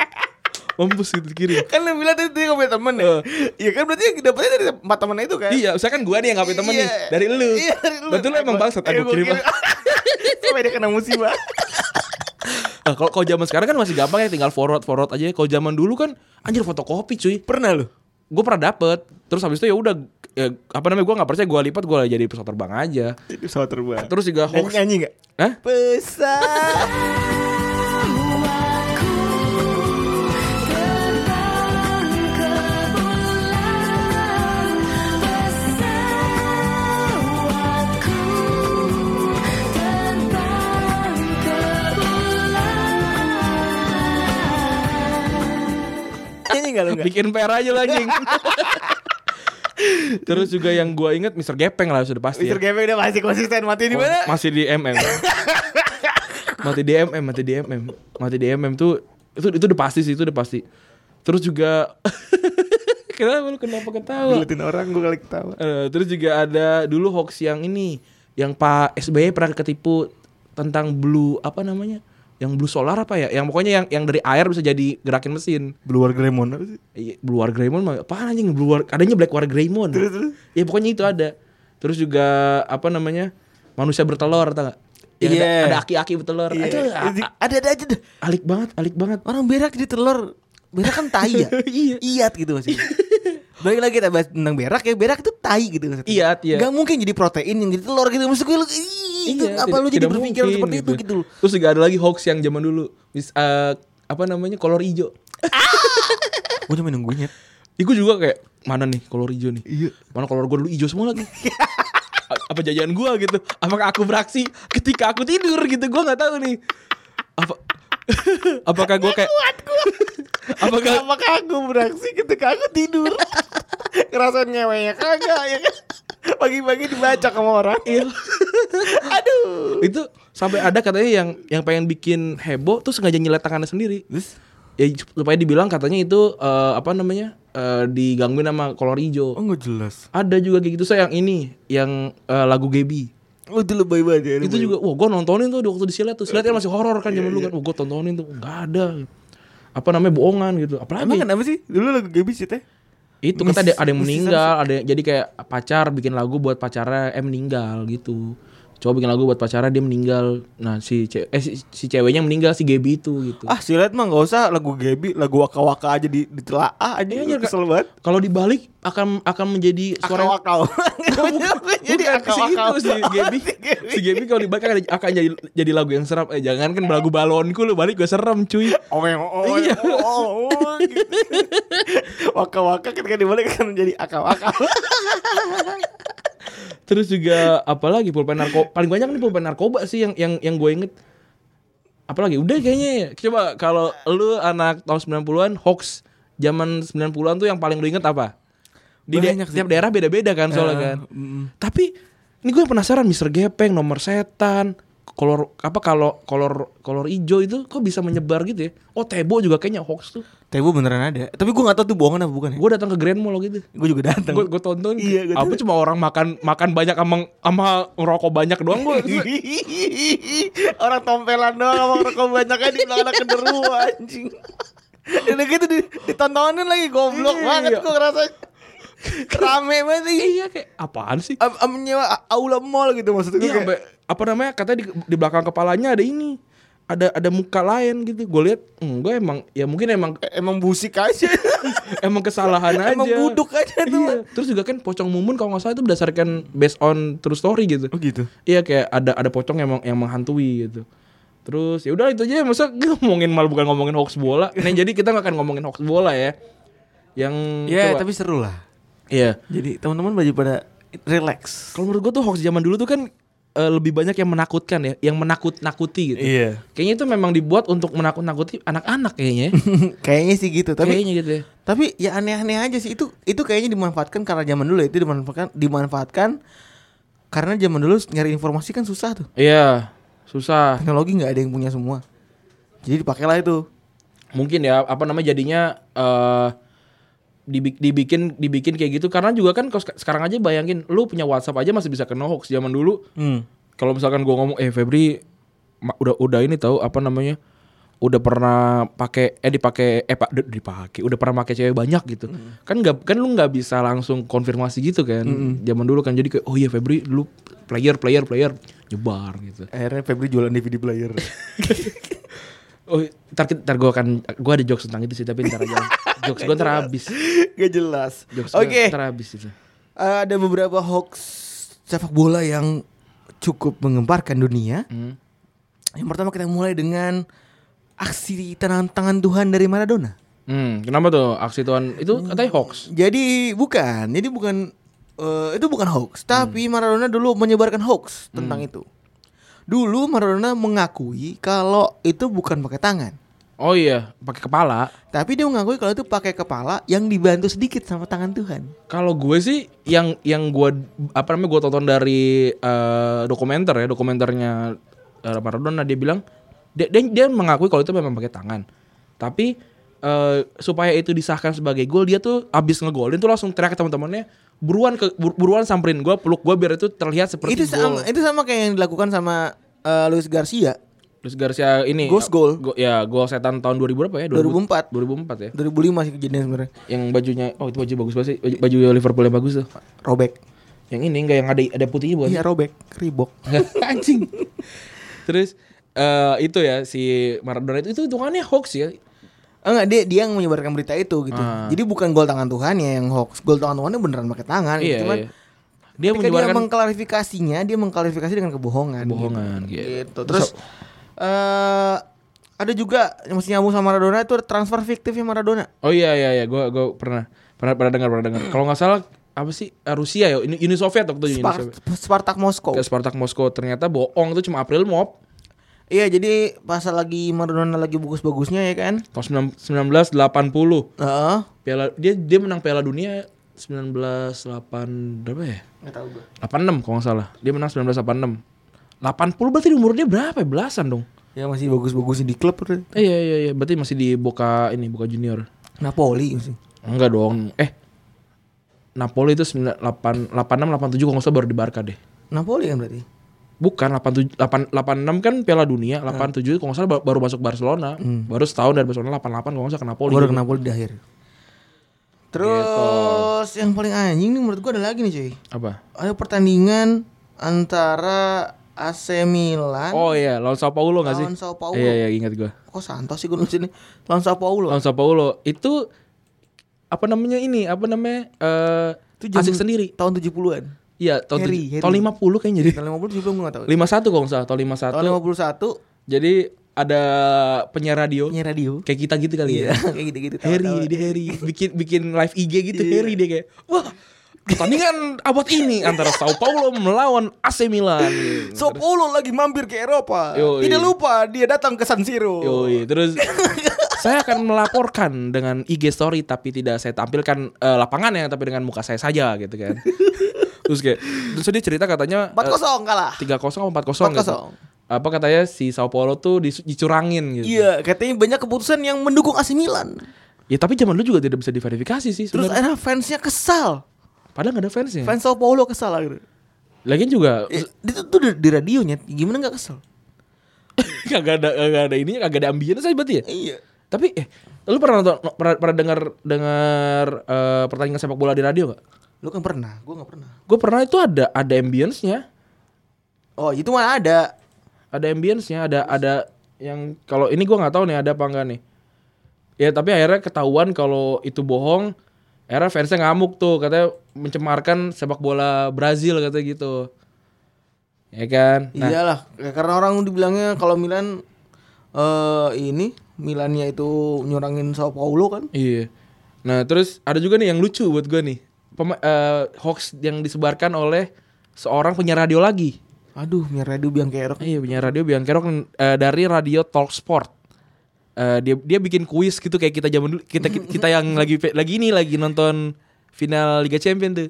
Mampus gitu kiri.
Kan lu bilang tadi dia nggak punya temen ya Iya kan berarti yang dapetnya dari empat temen itu kan
Eh. Iya, saya kan gua nih yang ngapain temen nih
Iya.
dari lu.
Iya, dari lu.
Berarti lu emang bangsat.
Eh,
Aku
gua
kirim. ah. lah.
Sampai dia kena musibah
Nah, kalau kalau zaman sekarang kan masih gampang ya tinggal forward forward aja. Kalau zaman dulu kan anjir fotokopi cuy.
Pernah lu?
Gue pernah dapet. Terus habis itu ya udah ya, apa namanya gua nggak percaya gua lipat gua jadi pesawat terbang aja.
Jadi pesawat terbang
Terus juga
Nyanyi,
hoax.
nyanyi gak?
Hah?
Pesan Nyanyi gak lu gak?
Bikin PR aja lah anjing. Terus juga yang gua inget Mr. Gepeng lah sudah pasti. ya.
Mr. Gepeng udah masih konsisten Iya. Oh, mati di mana?
Masih di MM. mati di MM, mati di MM. Mati di MM tuh itu itu udah pasti sih, itu udah pasti. Terus juga kenapa lu kenapa ketawa?
Ngeliatin orang gue kali ketawa
Eh, terus juga ada dulu hoax yang ini yang Pak SBY pernah ketipu tentang blue apa namanya? Yang blue solar apa ya? Yang pokoknya yang yang dari air bisa jadi gerakin mesin.
Blue Wargremon apa sih?
Iya, Blue War Greymon mah apaan anjing Blue War adanya Black War Greymon.
Terus, terus?
Ya pokoknya itu ada. Terus juga apa namanya? Manusia bertelur tau gak? Yang ada-
Iya.
ada, aki-aki bertelur. Itu a-
Iya.
a-
Ada-ada aja deh
alik banget, alik banget.
Orang berak di telur Berak kan tai ya
Iya.
Iat gitu maksudnya Balik lagi kita bahas tentang berak ya Berak itu tai gitu maksudnya
Iat, iya.
Gak mungkin jadi protein yang jadi telur gitu Maksud gue lu ih, itu
Iya, tidak-
Apa lu jadi
tidak
berpikir
mungkin,
seperti itu gitu loh
Terus juga ada lagi hoax yang zaman dulu. Mis, eh, apa namanya? Kolor hijau.
Gue cuma nungguin ya
Iku juga kayak mana nih kolor hijau nih?
Iya.
Mana kolor gue dulu hijau semua lagi. A- apa jajan gua gitu? Apakah aku beraksi ketika aku tidur gitu? Gua nggak tahu nih. Apa apakah gua kayak apakah
Kenapa aku beraksi ketika aku tidur Ngerasain ngewenya kagak ya kan Iya. Pagi-pagi dibaca sama orang Aduh
itu sampai ada katanya yang yang pengen bikin heboh tuh sengaja nyilet tangannya sendiri. Ya supaya dibilang katanya itu eh, apa namanya? eh, digangguin sama kolor hijau.
Oh, nggak jelas
Ada juga kayak gitu saya yang ini yang eh, lagu Gebi.
Lu tuh lebay banget ya
itu juga wah gue nontonin tuh di waktu di silet tuh silet kan masih horor kan zaman dulu kan wah gue tontonin tuh nggak ada apa namanya bohongan gitu apalagi
Emang kenapa sih? Dulu lagu gebis itu ya?
itu kata ada, ada yang
Miss- Miss
meninggal ada yang, jadi kayak pacar bikin lagu buat pacarnya eh meninggal gitu coba bikin lagu buat pacarnya dia meninggal nah si ce- eh, si, si ceweknya meninggal si Gaby itu gitu
Ah silat mah gak usah lagu Gebi, lagu waka-waka aja di, ditelaah aja
Iya, iya, Kak.
kesel banget
kalau dibalik akan akan menjadi suara
Akal-akal
Jadi si itu si Gaby Si Gaby kalau dibalik akan, akan jadi, jadi lagu yang serem Eh jangan kan lagu balonku lu balik gue serem cuy
Omeng omeng
Iya.
oh, oh, gitu. Waka-waka ketika dibalik kan menjadi akal-akal
Terus juga apalagi pulpen narkoba paling banyak nih pulpen narkoba sih yang yang yang gue inget. Apalagi udah kayaknya ya. coba kalau lu anak tahun 90-an hoax zaman 90-an tuh yang paling lu inget apa? Di da-
Banyak sih.
tiap daerah beda-beda kan soalnya
Eh,
kan.
mm.
Tapi ini gue penasaran Mister Gepeng, nomor setan, kolor apa kalau kolor kolor hijau itu kok bisa menyebar gitu ya? Oh, Tebo juga kayaknya hoax tuh.
Tebo beneran ada. Tapi gue nggak tahu tuh bohongan apa bukan ya.
Gue datang ke Grand Mall gitu.
Gue juga datang.
Gue gue tonton.
Iya,
apa
gua tonton.
cuma orang makan makan banyak sama sama ngerokok banyak doang
Iya.
gue.
orang tompelan doang sama rokok banyak di belakang anak genderuwo anjing. Udah gitu di- ditontonin lagi goblok
Iya.
banget gue ngerasa rame banget sih.
iya kayak apaan sih?
Am- am- Menyewa a- aula mall gitu maksud gue.
Iya,
kayak-
sampai apa namanya? Katanya di, di belakang kepalanya ada ini. Ada ada muka lain gitu. Gue lihat, gue emang ya mungkin emang
Emang busik aja.
emang kesalahan aja.
Emang buduk aja tuh,
Iya. Terus juga kan pocong mumun kalau nggak salah itu berdasarkan based on true story gitu.
Oh gitu.
Iya kayak ada ada pocong yang meng- yang menghantui gitu. Terus ya udah itu aja masa kita ngomongin malah bukan ngomongin hoax bola. Nah, jadi kita nggak akan ngomongin hoax bola ya. Yang
Ya,
Hmm, coba-
tapi seru lah.
iya.
Jadi teman-teman baju pada relax.
Kalau menurut gua tuh hoax zaman dulu tuh kan eh, lebih banyak yang menakutkan ya, yang menakut-nakuti gitu.
Iya.
Kayaknya itu memang dibuat untuk menakut-nakuti anak-anak kayaknya. ya.
Kayaknya sih gitu, tapi
kayaknya gitu ya.
tapi ya aneh-aneh aja sih itu itu kayaknya dimanfaatkan karena zaman dulu ya, itu dimanfaatkan dimanfaatkan karena zaman dulu nyari informasi kan susah tuh
Iya, susah.
teknologi nggak ada yang punya semua jadi dipakailah itu
mungkin ya apa namanya jadinya eh dibi- dibikin dibikin kayak gitu karena juga kan kalau sek- sekarang aja bayangin lu punya WhatsApp aja masih bisa kena hoax zaman dulu
Hmm.
kalau misalkan gua ngomong eh Febri ma- udah udah ini tahu apa namanya udah pernah pakai eh dipakai eh pak d- dipakai udah pernah pakai cewek banyak gitu kan nggak kan lu nggak bisa langsung konfirmasi gitu kan zaman dulu kan jadi kayak oh iya Febri lu player player player nyebar gitu
akhirnya Febri jualan DVD player
oh ntar, kita- ntar gue akan gue ada jokes tentang itu sih tapi ntar aja jokes gue ntar habis
gak jelas
Jokes
oke
gua ntar habis itu.
Eh, ada beberapa hoax sepak bola yang cukup mengemparkan dunia
Hmm.
yang pertama kita mulai dengan aksi tangan tangan Tuhan dari Maradona
Hmm, kenapa tuh aksi Tuhan itu katanya hoax?
Jadi bukan, jadi bukan eh, itu bukan hoax, tapi Maradona dulu menyebarkan hoax tentang itu. Dulu Maradona mengakui kalau itu bukan pakai tangan,
Oh iya, pakai kepala.
tapi dia mengakui kalau itu pakai kepala yang dibantu sedikit sama tangan Tuhan.
Kalau gue sih yang yang gue apa namanya gue tonton dari eh, dokumenter ya dokumenternya eh, Maradona dia bilang dia, dia, dia mengakui kalau itu memang pakai tangan. Tapi eh, supaya itu disahkan sebagai gol dia tuh abis ngegolin tuh langsung teriak ke teman-temannya buruan ke bur- buruan samperin gue peluk gue biar itu terlihat seperti
itu
gol.
sama, eh, itu sama kayak yang dilakukan sama eh, Luis Garcia
Terus Garcia ini
Ghost goal.
go- ya gol setan tahun 2000 berapa ya?
2004.
2004 ya.
2005 sih kejadian sebenarnya.
yang bajunya oh itu baju bagus banget sih baju, baju Liverpool yang bagus tuh
Robek.
yang ini enggak yang ada ada putihnya bukan
Iya robek, ribok.
anjing terus eh itu ya si Maradona itu itu hitungannya hoax ya
Enggak dia dia yang menyebarkan berita itu gitu.
Ah.
Jadi bukan gol tangan Tuhan ya yang hoax. Gol tangan Tuhannya beneran pakai tangan. gitu.
iya,
Cuman
iya. dia
Ketika dia
menyebarkan
mengklarifikasinya, dia mengklarifikasi dengan kebohongan.
Kebohongan,
gitu.
gitu.
Gitu. Terus eh ada juga yang masih nyambung sama Maradona itu ada transfer fiktifnya Maradona.
oh iya iya iya gua gua pernah pernah pernah dengar pernah dengar kalau nggak salah apa sih eh, Rusia ya Uni, Uni Soviet waktu itu Uni
Spar-
Soviet
Spartak Moskow.
ke Spartak Moskow ternyata bohong itu cuma April Mop
Iya, jadi pas lagi Maradona lagi bagus-bagusnya ya kan.
tahun 1980
Heeh.
piala dia dia menang Piala Dunia 1908 berapa ya
Nggak tahu gue.
86 kalau nggak salah. Dia menang 1986. 80 berarti di umur dia berapa ya? Belasan dong.
Ya masih bagus-bagusnya di klub tuh.
Eh, iya iya iya, berarti masih di Boca ini, Boca Junior.
Napoli masih.
Enggak dong. Eh. Napoli itu 98 86 87 kalau nggak salah baru di Barca deh.
Napoli kan berarti.
Bukan 87 8 86 kan Piala Dunia,
Iya.
87 kalau nggak salah ba- baru masuk Barcelona. Baru setahun dari Barcelona 88 kalau nggak salah ke Napoli.
Hmm. Baru ke Napoli di akhir. Terus
Gitu.
yang paling anjing nih menurut gue ada lagi nih cuy.
Apa?
ada pertandingan antara AC Milan
Oh iya, lawan Sao Paulo nggak sih?
lawan Sao Paulo.
Iya iya ingat gua.
Kok Santos sih gue nulis ini? Lawan Sao Paulo.
lawan Sao Paulo itu apa namanya ini? Apa namanya? Eh
Itu jam-
asik sendiri.
Tahun 70-an.
Iya, tahun
Harry,
tujuh-
Harry.
tahun 50 kayaknya jadi.
Tahun 50 70 gue gak tau.
51 kalau nggak salah, tahun
Tahun
51.
51
Jadi ada penyiar radio
punya radio.
kayak kita gitu kali
Iya,
ya.
kayak gitu-gitu.
Harry,
tawa-tawa. Iya.
dia Harry bikin bikin live IG gitu Harry dia kayak, "Wah, pertandingan abad ini antara Sao Paulo melawan AC Milan.
Sao Paulo lagi mampir ke Eropa.
Yoi.
Tidak lupa dia datang ke San Siro.
Yoi, terus saya akan melaporkan dengan IG story tapi tidak saya tampilkan eh, lapangannya tapi dengan muka saya saja gitu kan. terus kayak terus dia cerita katanya eh,
4-0 kalah.
3-0 atau 4-0 gitu.
4-0.
Apa katanya si Sao Paulo tuh disu- dicurangin gitu.
Iya, katanya banyak keputusan yang mendukung AC Milan.
Ya tapi zaman dulu juga tidak bisa diverifikasi sih
Terus
sebenarnya.
akhirnya fansnya kesal.
Padahal gak ada fansnya.
Fans Sao Paulo kesal akhirnya.
Lagian juga
Eh, itu tuh di, di radionya gimana nggak kesel?
kagak ada kagak ada ininya kagak ada ambience aja berarti ya.
Iya.
Tapi eh lu pernah nonton no- pernah, pernah dengar dengar eh, pertandingan sepak bola di radio gak?
Lu kan pernah, gua nggak pernah.
Gue pernah itu ada ada ambience-nya.
Oh, itu mah ada.
Ada ambience-nya, ada ada yang kalau ini gua nggak tahu nih ada apa enggak nih. Ya tapi akhirnya ketahuan kalau itu bohong. Akhirnya fansnya ngamuk tuh katanya mencemarkan sepak bola Brazil katanya gitu. Ya kan? Nah,
Iyalah, ya, karena orang dibilangnya kalau Milan eh ini Milannya itu nyurangin Sao Paulo kan.
Iya. Nah terus ada juga nih yang lucu buat gue nih Pema- eh, hoax yang disebarkan oleh seorang penyiar radio lagi.
Aduh, Mir Radio biang kerok.
Iya penyiar radio biang kerok eh, dari radio Talk Sport. Eh, dia dia bikin kuis gitu kayak kita zaman dulu kita kita, kita yang lagi lagi ini lagi nonton final Liga Champion tuh.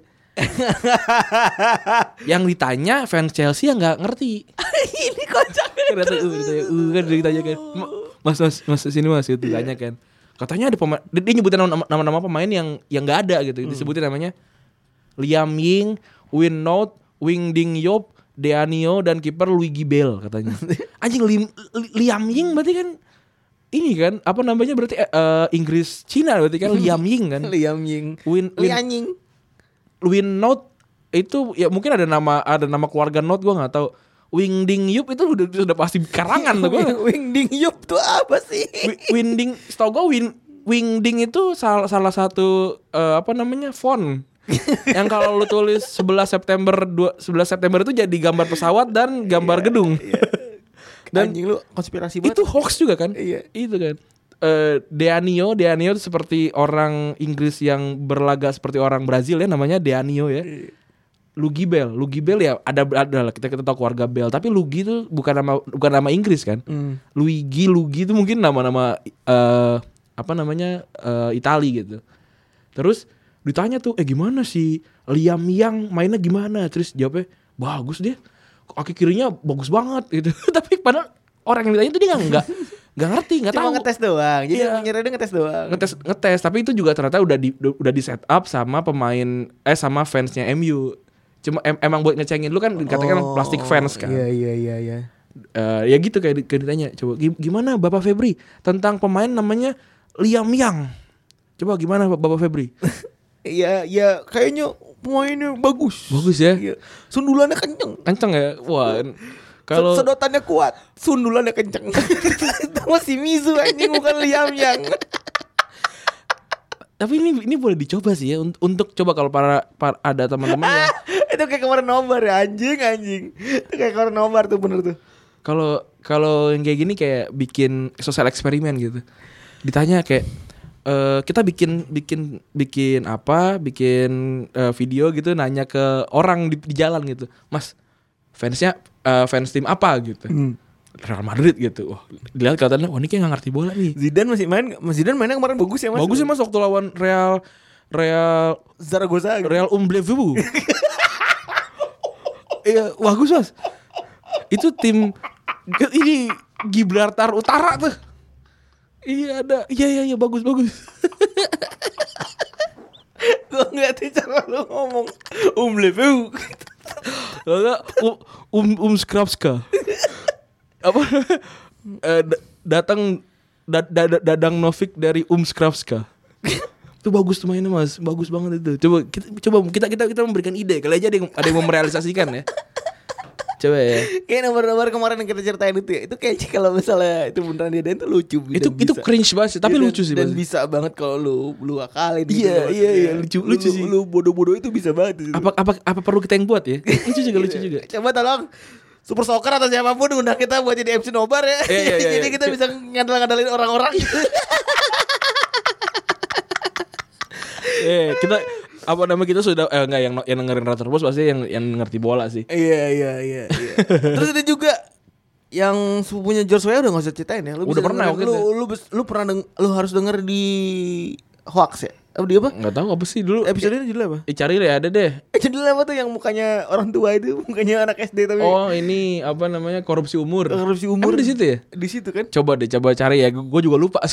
yang ditanya fans Chelsea yang nggak ngerti.
ini kocak.
Ternyata uh, ditanya, uh, kan ditanya kan. "Ma- Mas mas mas sini mas itu ditanya kan. Katanya ada pemain dia, dia nyebutin nama- nama-nama pemain yang yang nggak ada gitu. Disebutin namanya Liam Ying, Win Nout, Wing Ding Yop, Deanio dan kiper Luigi Bell katanya. Anjing Lim- Li- Liam Ying berarti kan ini kan apa namanya berarti eh, eh, Inggris Cina berarti kan Liam Ying kan.
Liam Ying.
Win Win
Liam Ying.
Win Note itu ya mungkin ada nama ada nama keluarga Note gua nggak tahu. Wing Ding Yup itu udah sudah pasti karangan tuh gua.
Wing Ding Yup tuh apa sih?
Wi- Winding, setahu gue Win Wingding itu salah salah satu eh, apa namanya font yang kalau lu tulis 11 September dua- 11 September itu jadi gambar pesawat dan gambar gedung.
Dan Anjing lu konspirasi banget.
itu hoax juga kan?
Iya.
Itu kan. Eh Deanio, Deanio itu seperti orang Inggris yang berlaga seperti orang Brazil ya namanya Deanio ya. Lugi Bell, Lugi Bell ya ada ada lah kita kita tahu keluarga Bell, tapi Lugi itu bukan nama bukan nama Inggris kan?
Hmm.
Luigi Luigi itu mungkin nama-nama eh apa namanya eh Itali gitu. Terus ditanya tuh, eh gimana sih Liam Yang mainnya gimana? Terus jawabnya bagus dia, kaki kirinya bagus banget gitu. Tapi padahal orang yang ditanya itu dia nggak nggak nggak ngerti nggak
Cuma
tahu
ngetes doang. Jadi
Iya.
penyiar radio ngetes doang.
ngetes ngetes tapi itu juga ternyata udah di udah di set up sama pemain eh sama fansnya MU cuma em- emang buat ngecengin lu kan dikatakan
Oh,
plastik fans kan
Iya iya iya iya.
Eh, ya gitu kayak, di- kayak ditanya coba "Gi- gimana Bapak Febri tentang pemain namanya Liam Yang coba gimana Bap- Bapak Febri
Iya iya kayaknya pemainnya bagus.
bagus ya
Iya. Sundulannya kenceng.
kenceng ya wah n- kalau
Sed- sedotannya kuat, sundulannya kenceng. Itu masih Mizu anjing bukan Liam yang.
tapi ini ini boleh dicoba sih ya un- untuk coba kalau para, para- ada teman-teman yang
Itu kayak kemarin nobar ya anjing anjing. Itu kayak kemarin nobar tuh bener tuh.
kalau kalau yang kayak gini kayak bikin sosial eksperimen gitu ditanya kayak eh kita bikin bikin bikin apa bikin eh, video gitu nanya ke orang di, di jalan gitu mas fansnya eh, fans tim apa gitu Real Madrid gitu wah dilihat kelihatannya wah ini kayak gak ngerti bola nih
Zidane masih main nggak? Mas Zidane mainnya kemarin bagus ya Mas.
bagus ya mas waktu lawan Real Real
Zaragoza. gitu.
Real Umblevu. Iya, bagus mas. Itu tim ini Gibraltar Utara tuh. Iya ada, iya iya iya bagus bagus.
Gue ngeliatin cara lu ngomong Umlebu
Lalu um um Skrapska. Apa? Eh, da- datang da- da- da- Dadang Novik dari Um Skrapska. itu bagus tuh mainnya mas, bagus banget itu. Coba kita coba kita kita kita memberikan ide, kali aja ada yang, ada yang mau merealisasikan ya. Coba ya.
Kayak nomor-nomor kemarin yang kita ceritain itu ya Itu kayaknya kalau misalnya itu beneran dia dan itu lucu dan
itu itu
bisa.
cringe banget sih tapi
Iya, dan-
lucu sih
Dan
Bas.
bisa banget kalau lu Lu akalin gitu
Iya,
loh,
iya,
maksudnya.
iya, lucu- lucu
Lu-
sih.
Lu bodoh-bodoh itu bisa banget di situ. Iya.
apa apa apa perlu kita yang buat ya lucu juga lucu juga
Coba tolong Super Soccer atau siapapun undang kita buat jadi MC nobar ya
Iya, iya, iya,
Jadi
iya.
kita bisa ngandel-ngandelin orang-orang
eh kita apa nama kita sudah eh enggak yang yang dengerin Rotter Bus pasti yang yang ngerti bola sih.
Iya iya iya. iya. Terus ada juga yang sepupunya George Weah udah gak usah ceritain ya. Lu
Udah
bisa
pernah waktu
dengerin. lu,
itu. ya?
lu, bes- lu pernah deng- lu harus denger di hoax ya? Apa di apa?
Enggak tahu apa sih dulu.
Episode ini judulnya apa?
Ih, cari deh ada deh.
Eh, judulnya apa tuh yang mukanya orang tua itu, mukanya anak SD tapi
Oh, ini apa namanya? Korupsi umur.
Korupsi umur.
Emang di situ ya?
di situ kan?
Coba deh coba cari ya. Gue juga lupa.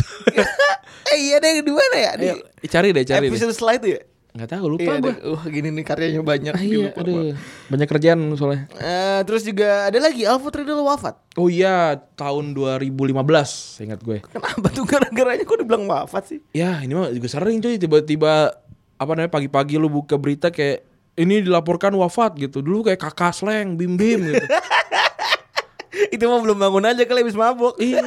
eh iya deh di mana ya? Di
Ayo, cari deh, cari deh.
episode slide tuh ya?
Enggak tahu lupa
Iya,
gue.
deh. Wah, gini nih karyanya banyak.
Ah, iya,
Lupa gua.
aduh. Banyak kerjaan soalnya.
Eh, terus juga ada lagi Alfred Riddle wafat.
Oh iya, tahun 2015 ingat gue.
Kenapa tuh gara-garanya kok dibilang wafat sih?
Ya, ini mah juga sering cuy tiba-tiba apa namanya pagi-pagi lu buka berita kayak ini dilaporkan wafat gitu. Dulu kayak kakak sleng, bim bim gitu.
Itu mah belum bangun aja kali habis mabuk.
Iya.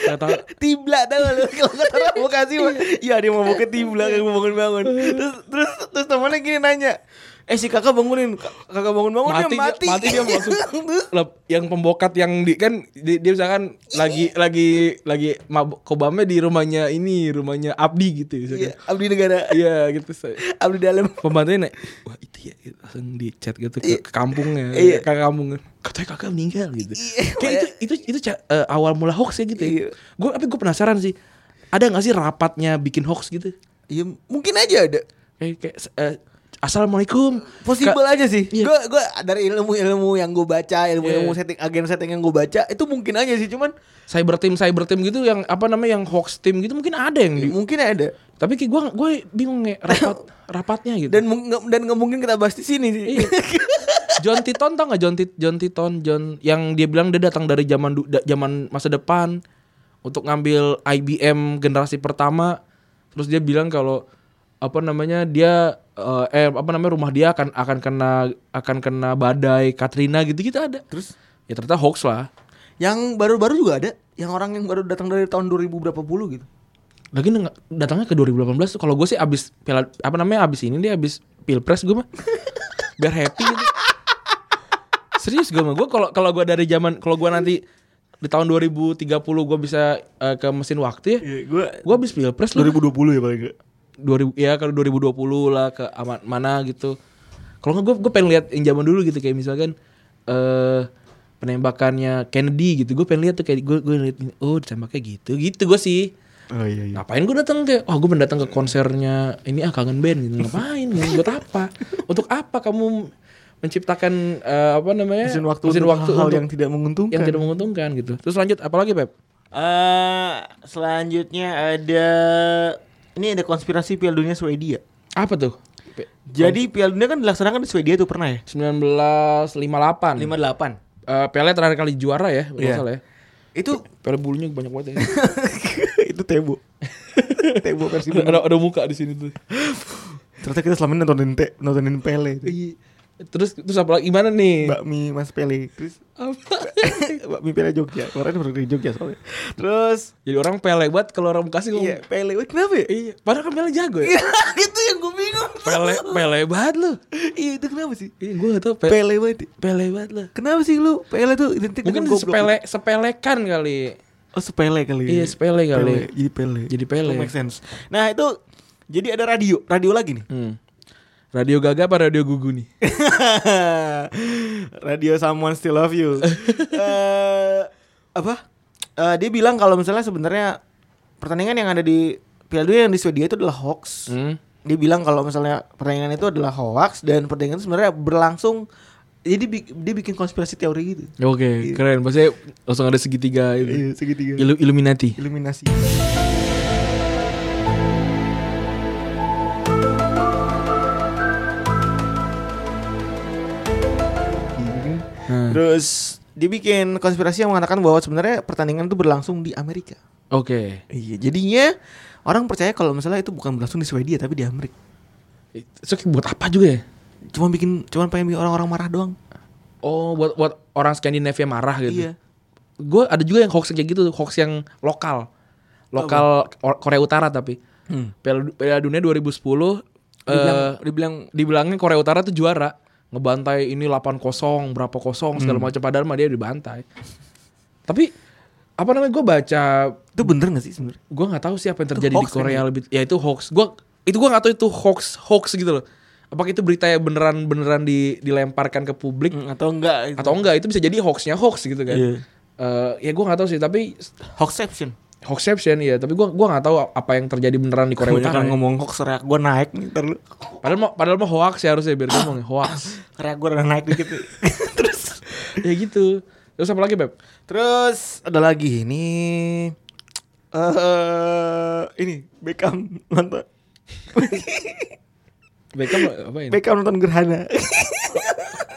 Gak tahu.
Tibla tau gak lu kalau kata provokasi mah
Iya.
ya dia mau ke tibla kan mau bangun bangun terus terus terus temannya gini nanya eh si kakak bangunin Kak- kakak bangun bangun
Mati,
dia mati
mati dia langsung.
Terus,
Lep- yang pembokat yang di kan di- dia misalkan lagi lagi lagi mabuk kobamnya di rumahnya ini, rumahnya Abdi gitu
iya,
misalkan.
abdi negara
Iya, gitu. Say.
abdi dalam
Pembantunya naik, wah itu ya gitu. langsung di chat gitu ke, ke kampungnya,
Iya.
ke kampungnya. Katanya kakak meninggal gitu.
Iya,
Kayak itu itu itu ca- eh, awal mula hoax ya gitu. Ya.
Iya.
Gue tapi gue penasaran sih, ada nggak sih rapatnya bikin hoax gitu?
ya mungkin aja ada
Kayak, kayak eh, assalamualaikum.
possible
Ka-
aja sih
Iya.
gue gua dari ilmu ilmu yang gue baca ilmu ilmu
Iya.
setting agen setting yang gue baca itu mungkin aja sih cuman
cyber team cyber team gitu yang apa namanya yang hoax team gitu mungkin ada yang di,
mungkin ada
tapi kayak gue gue bingung ya rapat rapatnya gitu.
dan mung- nggak- dan nggak mungkin kita bahas di sini sih
Iya. John Titon tau gak John, Tit- John Titon John yang dia bilang dia datang dari zaman du- da- zaman masa depan untuk ngambil IBM generasi pertama terus dia bilang kalau apa namanya dia eh, eh apa namanya rumah dia akan akan kena akan kena badai Katrina gitu gitu ada
terus
ya ternyata hoax lah
yang baru-baru juga ada yang orang yang baru datang dari tahun 2000 berapa puluh gitu
lagi neng- datangnya ke 2018 tuh kalau gue sih abis piala, apa namanya abis ini dia abis pilpres gue mah biar happy gitu. serius gue mah gue kalau kalau gue dari zaman kalau gue nanti di tahun 2030 gue bisa eh, ke mesin waktu ya
Iya, gue
gue abis pilpres lah
2020 ya paling enggak.
2000 ya kalau 2020 lah ke ama- mana gitu. Kalau nggak gue gue pengen lihat yang zaman dulu gitu kayak misalkan eh penembakannya Kennedy gitu. Gue pengen lihat tuh kayak gue gue lihat oh ditembaknya gitu. Gitu gue sih.
Oh iya iya.
Ngapain gue datang ke oh gue pengen datang ke konsernya ini ah kangen band gitu. Ngapain? gitu. Buat apa? Untuk apa kamu menciptakan eh, apa namanya?
Mesin waktu
mesin
untuk
waktu
hal
untuk-
yang tidak menguntungkan.
yang tidak menguntungkan gitu. Terus lanjut apalagi Pep?
selanjutnya ada ini ada konspirasi Piala Dunia Swedia.
Apa tuh? Pe-
Jadi Piala Dunia kan dilaksanakan di Swedia tuh pernah ya? Hmm.
1958.
58.
Eh Pele terakhir kali juara ya, kalau
Iya.
nggak salah ya.
Itu
Pele bulunya banyak banget ya.
itu Tebo. Tebo versi
ada, ada, ada muka di sini tuh.
Ternyata kita selama ini nontonin te, nontonin Pele itu.
Terus terus apa lagi gimana nih?
Bakmi Mas Pele. Terus
Apa?
Bakmi Pele Jogja. Kemarin baru dari Jogja soalnya. Terus
Jadi orang Pele buat kalau orang Bekasi ngomong.
iya, Pele. Wah, Kenapa ya?
Iya. Padahal kan Pele jago ya.
itu yang gue bingung.
Pele Pele banget lu.
Iya, itu kenapa sih?
Iya, gua gak tau Pele,
Pele banget.
Pele banget lu.
Kenapa sih lu PL itu identik
Mungkin
dengan goblok?
sepele sepelekan kali.
Oh sepele kali.
Iya, sepele kali.
Pele, Jadi pele.
Jadi Pele.
Itu make sense. Nah itu jadi ada radio, radio lagi nih.
Hmm. Radio Gaga apa Radio Gugu nih?
radio someone still love you. Eh, apa? Eh, dia bilang kalau misalnya sebenarnya pertandingan yang ada di Piala Dunia yang di Swedia itu adalah hoax.
Hmm.
Dia bilang kalau misalnya pertandingan itu adalah hoax dan pertandingan itu sebenarnya berlangsung. Jadi bi- dia bikin konspirasi teori gitu.
Oke, keren. Pasti langsung ada Iya. segitiga gitu. itu.
Iya segitiga.
Ilu- Illuminati.
Iluminasi.
Hmm.
Terus dia bikin konspirasi yang mengatakan bahwa sebenarnya pertandingan itu berlangsung di Amerika.
Oke.
Iya, jadinya orang percaya kalau misalnya itu bukan berlangsung di Swedia tapi di Amerika.
So, buat apa juga ya?
Cuma bikin cuma pengen bikin orang-orang marah doang.
Oh, buat buat orang Skandinavia marah gitu.
Iya.
Gue ada juga yang hoax kayak gitu, hoax yang lokal. Lokal Or- Korea Utara tapi. Piala, Du- Piala Dunia 2010
Dibilang,
eh
dibilang
dibilangnya Korea Utara tuh juara, ngebantai ini 8-0, berapa kosong
Hmm.
segala macam padahal mah dia dibantai. tapi apa namanya gue baca
itu bener gak sih sebenarnya?
gue nggak tahu sih apa yang terjadi di
hoax kan
Korea lebih ya itu hoax gue itu gua nggak tahu itu hoax hoax gitu loh. Apakah itu berita yang beneran beneran di, dilemparkan ke publik
Mm, atau enggak itu.
atau enggak itu bisa jadi hoaxnya hoax gitu kan.
Iya.
Eh, ya gua nggak tahu sih tapi
hoaxception
hoaxception ya tapi gua gua nggak tahu apa yang terjadi beneran di Korea Utara.
kebanyakan
ya.
ngomong hoax reak gue naik nih ntar lu
Padahal mau padahal mau hoax ya harusnya biar ngomong hoax.
reak gue udah naik dikit nih. terus
ya gitu. Terus apa lagi, Beb?
terus ada lagi ini eh ini Beckham nonton
Beckham eh, apa ini?
Beckham nonton gerhana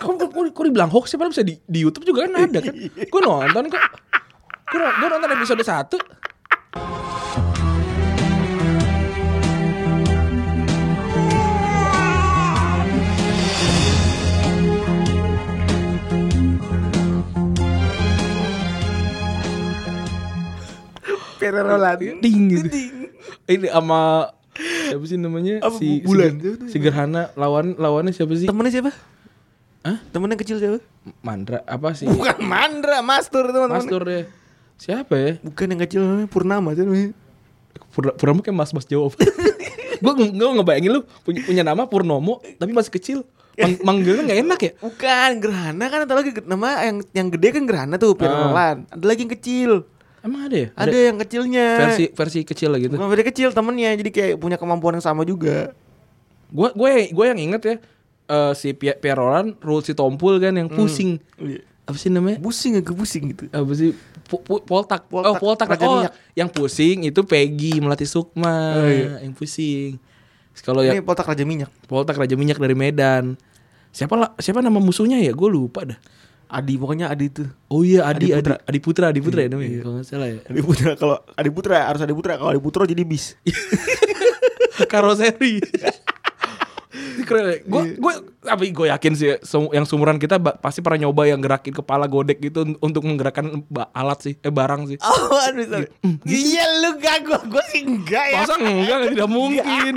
Kok, kok, kok, kok dibilang hoax sih? Padahal bisa di, di YouTube juga kan ada kan? Gue nonton kok. Gue gue nonton episode 1
Ferrero Roland
Ding gitu. Ini sama siapa sih namanya?
Apa,
si
Bu- Bulan?
si, si Gerhana lawan lawannya siapa sih?
temennya siapa
Hah?
temennya kecil siapa
Mandra apa sih?
bukan Mandra Mastur teman-teman
Mastur ya. Siapa ya?
bukan yang kecil namanya Purnama sih namanya
Pur- Purnomo kayak mas-mas jawab. gue gue ngebayangin lu punya, punya nama Purnomo tapi masih kecil. Mang manggilnya nggak enak ya?
bukan gerhana kan ada lagi ge- nama yang yang gede kan gerhana tuh
Ah.
Ferrero Roland ada lagi yang kecil
Emang ada ya?
ada, yang kecilnya
versi versi kecil lah gitu.
Bukan beda kecil temennya jadi kayak punya kemampuan yang sama juga.
Gue gue gue yang inget ya eh, si Pia- Pierolan, Rul si Tompul kan
Hmm.
yang pusing.
Iya.
Apa sih namanya?
Busing agak pusing gitu.
Apa sih? Pu- pu- poltak.
Poltak,
Oh, Poltak.
Raja
Oh,
Minyak.
yang pusing itu Peggy Melati Sukma.
Oh, iya.
Yang pusing. Terus Kalau yang
Ini potak raja minyak.
Poltak Raja Minyak dari Medan. Siapa lah, siapa nama musuhnya ya? Gue lupa dah.
Adi pokoknya Adi itu.
Oh iya Adi
Adi
Adi
Putra.
Adi Putra,
Iya.
Adi Putra ya namanya. Kalau nggak salah ya.
Adi Putra kalau Adi Putra harus Adi Putra kalau Adi Putra jadi bis.
Karoseri. Ini Keren. Gue
Iya.
gue tapi gue yakin sih sum- yang sumuran kita ba- pasti pernah nyoba yang gerakin kepala godek gitu un- untuk menggerakkan ba- alat sih, eh barang sih.
Oh, aduh sorry. Iya lu gak gua gua sih enggak ya.
Masa enggak tidak mungkin.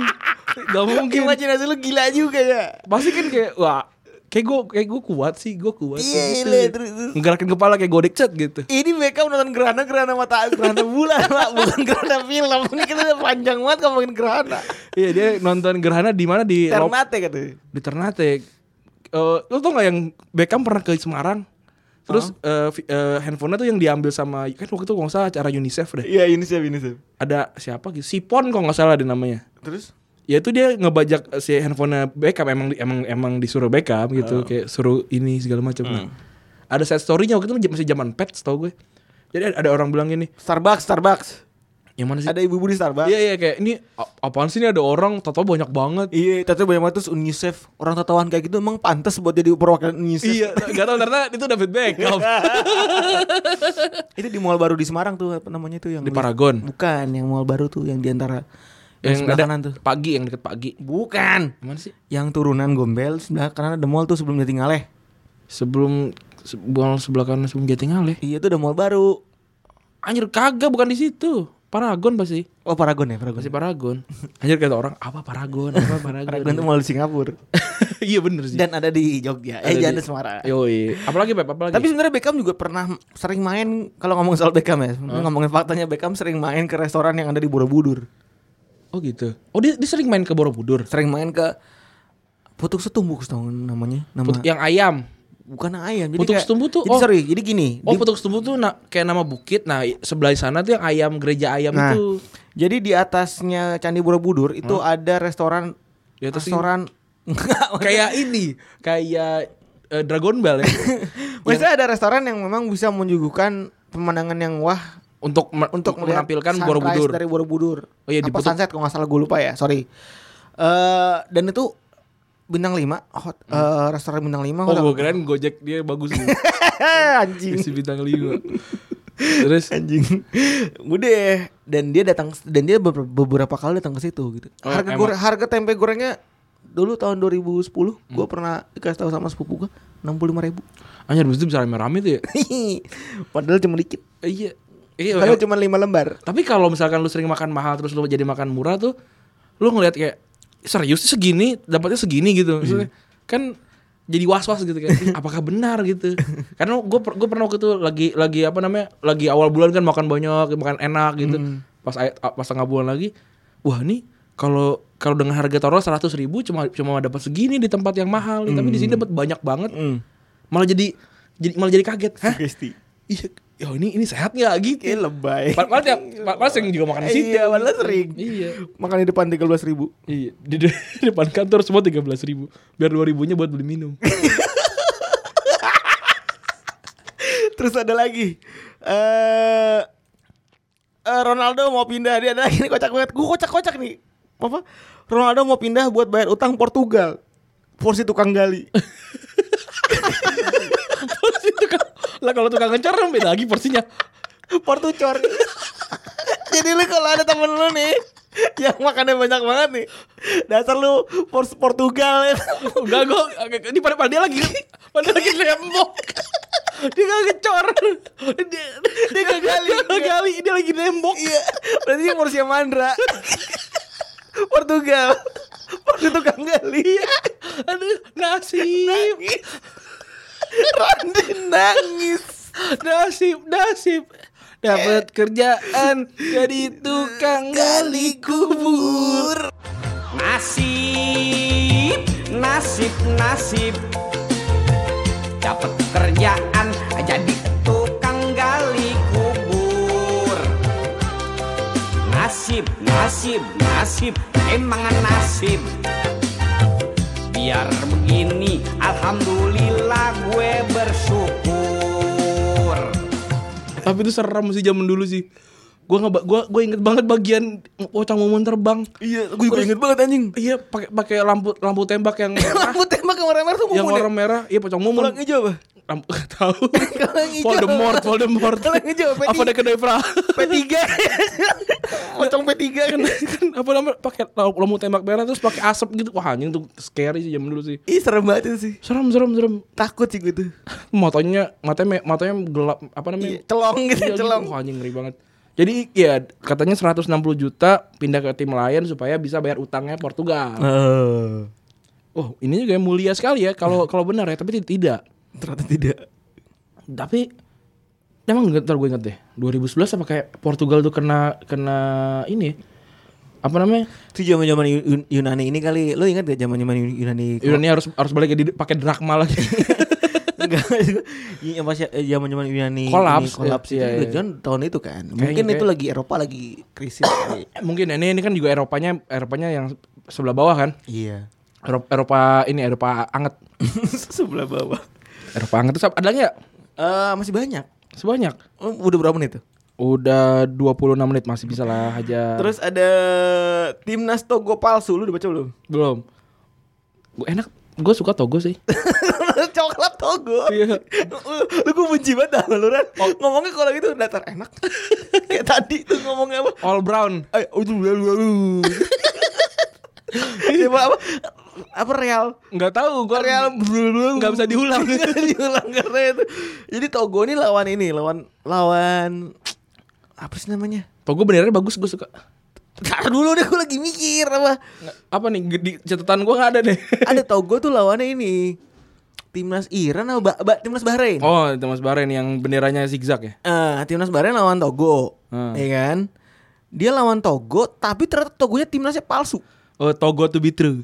Gak mungkin.
Imajinasi lu gila juga ya.
Pasti kan kayak wah kayak gue kayak gue kuat sih, gue kuat. sih,
Iya,
gitu.
iya, terus- terus.
Ngegerakin kepala kayak godek cet gitu.
Ini Beckham nonton gerhana gerhana mata gerhana bulan pak bukan gerhana film. Ini kita udah panjang banget ngomongin gerhana.
Iya dia nonton gerhana di mana
Iya,
di Lop-
Ternate katanya.
di Ternate. Eh, lu tau gak yang Beckham pernah ke Semarang? Terus eh, vi- eh, handphonenya tuh yang diambil sama kan waktu itu kalau nggak salah acara UNICEF deh.
Iya ini siapa ini siapa.
Ada siapa gitu? Sipon kalau nggak salah ada namanya.
Terus
Ya itu dia ngebajak eh, si handphonenya Beckham emang di- emang emang disuruh Beckham gitu kayak suruh ini segala macam. Nah, ada set story-nya waktu itu masih zaman pet tau gue. Jadi ada ada orang bilang gini,
Starbucks Starbucks.
yang mana sih?
Ada ibu-ibu di Starbucks.
Iya iya kayak ini a- apaan sih ini ada orang tato banyak banget.
Iya, tapi banyak banget terus UNICEF orang tatawan kayak gitu emang pantas buat jadi perwakilan UNICEF.
Iya, gak tau ternyata itu David Beckham
Itu di mall baru di Semarang tuh apa namanya tuh yang
di Paragon.
Bukan, yang mall baru tuh yang di antara
yang
sebelah
ada
kanan tuh.
pagi yang deket pagi
Bukan.
mana sih
Yang turunan Gombel sebelah kanan ada mall tuh sebelum eh. Jatingaleh.
sebelum se- buang sebelah kanan sebelum Jatingaleh
Iya, itu ada mall baru.
anjir kagak bukan di situ Paragon pasti
Oh, Paragon ya, Paragon.
pasti Paragon anjir kata orang apa Paragon apa Paragon,
Paragon tuh mall di Singapura
iya bener sih
dan ada di Jogja. eh,
Ada
jangan
di-
di Semarang.
Yoi. apalagi Pep apalagi
Tapi sebenarnya Beckham juga pernah sering main kalau ngomong soal Beckham ya, ngomongin faktanya Beckham sering main ke restoran yang ada di Borobudur.
oh gitu oh dia, dia sering main ke Borobudur
sering main ke putuk setumbuk setahun namanya nama
Put- yang ayam
bukan ayam jadi
Putuk
kayak-
Setumbuk tuh,
jadi
oh.
sorry jadi gini
oh
di-
Putuk Setumbu tuh na- kayak nama bukit nah i- sebelah sana tuh yang ayam gereja ayam
nah
itu
jadi di atasnya candi borobudur itu ada restoran
Hmm? Di atas
restoran
kayak ini kayak eh, Dragon Ball ya
maksudnya ada restoran yang memang bisa menyuguhkan pemandangan yang wah
untuk me-
untuk melihat
menampilkan
sunrise
Borobudur
dari Borobudur
Oh iya, di
apa
Putuk-
sunset kalau nggak salah gue lupa ya sorry Eh dan itu bintang 5 hot eh, restoran bintang 5
Hmm. Oh, gue keren Gojek dia bagus nih.
anjing
Isi bintang 5. Terus
anjing udah dan dia datang dan dia beber- beberapa kali datang ke situ gitu
Oh,
harga
emang.
goreng- harga tempe gorengnya dulu tahun 2010 gue pernah dikasih tahu sama sepupu gue enam puluh lima ribu
anjir abis itu bisa rame-rame tuh ya.
padahal cuma dikit
Eh, Iya. Iya.
padahal
em-
cuma lima lembar
Tapi kalau misalkan lu sering makan mahal terus lu jadi makan murah tuh lu ngelihat kayak serius sih segini dapatnya segini gitu. Maksudnya, kan jadi was-was gitu kayak "Ih, apakah benar gitu. Karena gue gue pernah waktu itu lagi lagi apa namanya? lagi awal bulan kan makan banyak, makan enak gitu. Pas ay- pas tengah bulan lagi, wah nih kalau kalau dengan harga taruh seratus ribu cuma cuma dapat segini di tempat yang mahal nih. tapi di sini dapat banyak banget
Hmm.
malah jadi jadi malah jadi kaget hah
Sugesti.
iya yo ini ini sehat nggak gitu
Kayak lebay.
Pad- padahal tiap padahal sering juga makan di situ
Iya, padahal sering.
iya
Makan di depan 13.000 ribu.
iya di, de- depan kantor semua tiga belas ribu biar dua ribunya buat beli minum
Terus ada lagi. Eh eh, Ronaldo mau pindah dia ada lagi nih kocak banget. Gue kocak-kocak nih. Apa? Ronaldo mau pindah buat bayar utang Portugal. Porsi tukang gali.
terus itu kan lah kalau tukang ngecer beda lagi porsinya
Portucor. Jadi lu kalau ada temen lu nih yang makannya banyak banget nih. Dasar lu pors Portugal.
Enggak gue Ini pada pada dia lagi Pada lagi nembok Dia gak ngecor Dia, dia gak gali Dia gak gali Dia lagi nembok
iya. Berarti dia porsi Mandra. Portugal. Porsi tukang gali.
Aduh Nasib
Rondi nangis. Eh.
Nasib Nasib Dapat kerjaan Jadi tukang gali kubur
Nasib, nasib, nasib Dapat kerjaan jadi tukang gali kubur Nasib, nasib, nasib, emang nasib Biar begini, Alhamdulillah gue bersyukur
Tapi itu serem sih zaman dulu sih Gue nggak gua gua inget banget bagian Pocong momen terbang
Iya, gue juga inget banget anjing.
Iya pakai pakai lampu lampu tembak yang merah
Rambut tembak yang merah-merah tuh
yang
mumpuni.
warna merah iya pocong momen
Pulang ya? hijau apa?
Lampu gak tahu.
Kalau yang hijau.
Voldemort, Voldemort.
Kalau yang hijau, P3.
apa ada kedai pra?
P3 Pocong P3 kan
kan apa namanya pakai lampu lampu tembak merah terus pakai asap gitu. Wah, anjing tuh scary sih zaman dulu sih.
Ih serem banget itu sih
Serem, serem, serem.
Takut sih gue tuh
Matanya matanya me- matanya gelap apa namanya?
Celong gitu
Iya, gitu.
celong
Wah, anjing ngeri banget. Jadi ya katanya 160 juta pindah ke tim lain supaya bisa bayar utangnya
Nah.
Portugal.
Eh.
Oh, ini juga yang mulia sekali ya
Nah.
kalau kalau benar ya, tapi tidak.
Ternyata tidak
tapi emang nggak- ntar gue inget deh 2011 apa kayak Portugal tuh kena kena ini apa namanya
Itu zaman zaman Yunani ini kali Lo ingat gak zaman zaman Yunani
Yunani harus harus balik jadi pakai drachma lagi
Enggak Yang pas zaman zaman Yunani
Kolaps,
ini Kolaps
iya,
itu
iya.
kan tahun itu kan Mungkin
Kayaknya,
itu
kayak-
lagi Eropa lagi krisis kali
mungkin ini ini kan juga Eropanya Eropanya yang sebelah bawah kan
Iya
Eropa, Eropa ini Eropa anget
Sebelah bawah
Eropa anget terus ada lagi nggak?
Eh Masih banyak
sebanyak
Oh, Udah berapa menit tuh?
udah 26 menit masih bisa lah aja
Nah. Terus ada Timnas Togo palsu Lu udah baca belum?
belum gue enak gue suka Togo sih
coklat togo
Iya.
lu, lu gue benci banget sama lu Ran ngomongnya kalau gitu datar enak kayak tadi tuh ngomongnya apa
all brown
ayo itu lalu lalu Siapa apa apa real
nggak tahu gue
real
nggak bisa diulang
Nggak bisa diulang karena itu jadi togo ini lawan ini lawan lawan apa sih namanya
Togo benernya bagus gue suka
Ntar dulu deh gue lagi mikir apa
apa nih ge- di catatan gue nggak ada deh
ada togo tuh lawannya ini timnas Iran apa Ba- Ba- timnas Bahrain
oh itu Mas Baren yang benderanya zigzag ya
Eh, timnas Bahrain lawan Togo,
Hmm.
ya kan? Dia lawan Togo, tapi ternyata Togonya timnasnya palsu.
oh Togo to be true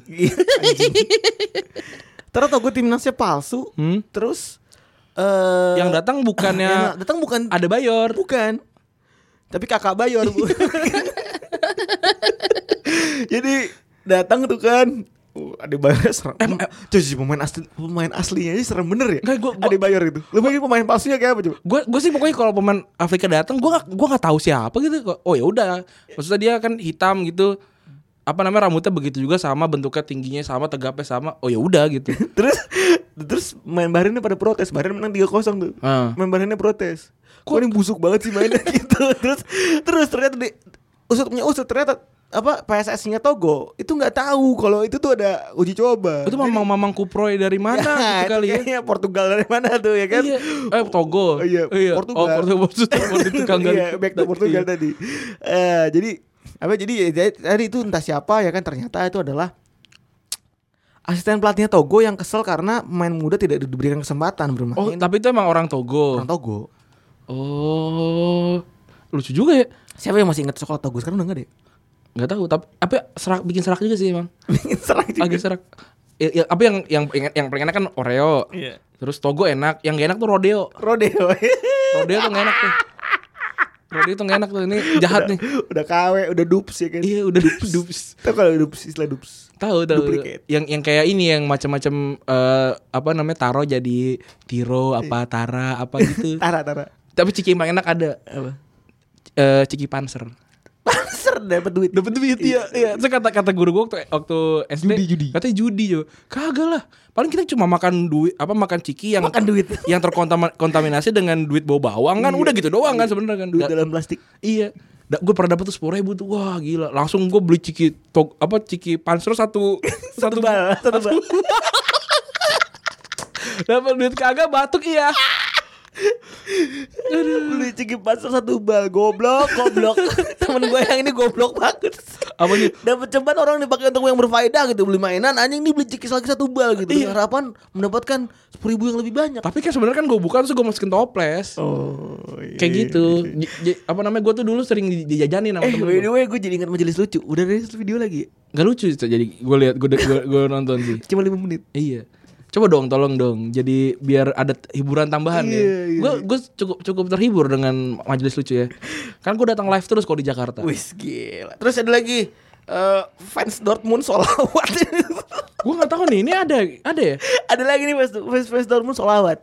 ternyata Togo timnasnya palsu.
Hmm?
Terus eh
yang datang bukannya
yang datang bukan
ada Bayor
bukan, tapi kakak Bayor. Bu. Jadi datang tuh kan Uh, Ade Bayor serem. Em, em, cuy, cuy, pemain asli pemain aslinya aja serem bener ya.
Nggak, gua- gua-
Ade Bayor itu. Lu bayangin pemain palsunya kayak apa coba?
gue gue sih pokoknya kalau pemain Afrika datang gue gak gue nggak tahu siapa gitu oh ya udah maksudnya dia kan hitam gitu apa namanya rambutnya begitu juga sama bentuknya tingginya sama tegapnya sama oh ya udah gitu
terus terus main Bahrainnya pada protes Bahrain menang 3-0 tuh
Ah.
main Bahrainnya protes kok ini busuk banget sih mainnya gitu terus terus ternyata di, usut punya usut ternyata apa PSSI-nya Togo itu nggak tahu kalau itu tuh ada uji coba
itu mamang mamang kuproy dari mana
Ya,
gitu kali ya
kayaknya Portugal dari mana tuh ya kan
Iya. Eh Togo.
Oh,
Oh,
iya,
Portugal. Portugal.
Iya, back to
Iya.
Portugal tadi. Eh, jadi apa jadi ya, tadi itu entah siapa ya kan ternyata itu adalah asisten pelatihnya Togo yang kesel karena pemain muda tidak diberikan kesempatan bermain.
Oh, tapi itu emang orang Togo.
orang Togo.
Oh, lucu juga ya.
Siapa yang masih ingat sekolah Togo sekarang udah enggak deh?
nggak tahu tapi apa serak bikin serak juga sih emang
Bikin serak juga.
agak serak Ya, ya, apa yang yang yang, yang paling enak kan Oreo
Iya.
terus Togo enak yang gak enak tuh Rodeo
Rodeo.
Rodeo tuh gak enak tuh Rodeo tuh gak enak tuh ini jahat nih
udah KW, udah dups ya kan.
iya udah dups
Tahu kalau dups istilah dups.
tahu tahu
Duplicate.
yang yang kayak ini yang macam-macam eh, apa namanya taro jadi tiro apa tara apa gitu
Tara tara.
tapi ciki yang enak ada
Apa?
eh, ciki panser
Panser dapat duit.
dapat duit iya iya Terus kata kata guru gue waktu waktu SD
Judi, judi.
katanya judi juga kagak lah paling kita cuma makan duit apa makan ciki yang
Makan duit.
yang terkontaminasi dengan duit bau bawang
Iya.
kan udah gitu doang kan sebenarnya kan
Duit
Da-
dalam plastik.
iya da, gue pernah dapet tuh sepuluh ribu tuh wah gila langsung gue beli ciki tog, apa ciki panser satu
Satu bal, satu bal.
dapat duit kagak batuk iya
Beli ciki pasar satu bal. Goblok, goblok. Temen gue yang ini goblok banget.
apa nih
Dapat cobaan orang dipakai untuk yang berfaedah gitu beli mainan anjing ini beli ciki lagi satu bal gitu dengan harapan mendapatkan sepuluh ribu yang lebih banyak.
tapi kan sebenarnya kan gue buka terus gue masukin toples
Oh, iya.
kayak gitu J- j- apa namanya gue tuh dulu sering di- dijajanin sama temen
Eh, by
gue
the way, gue jadi ingat majelis lucu. Udah rilis video lagi.
Gak lucu sih jadi gue lihat gue gue nonton sih
Cuma 5 menit.
Iya. Coba dong tolong dong. Jadi biar ada t- hiburan tambahan
Iya, iya.
ya. Gue gue cukup cukup terhibur dengan majelis lucu ya. Kan gue datang live terus kalau di Jakarta.
Wis gila. Terus ada lagi eh, fans Dortmund solawat.
Gue nggak tahu nih ini ada ada ya.
ada lagi nih fans fans, fans Dortmund solawat.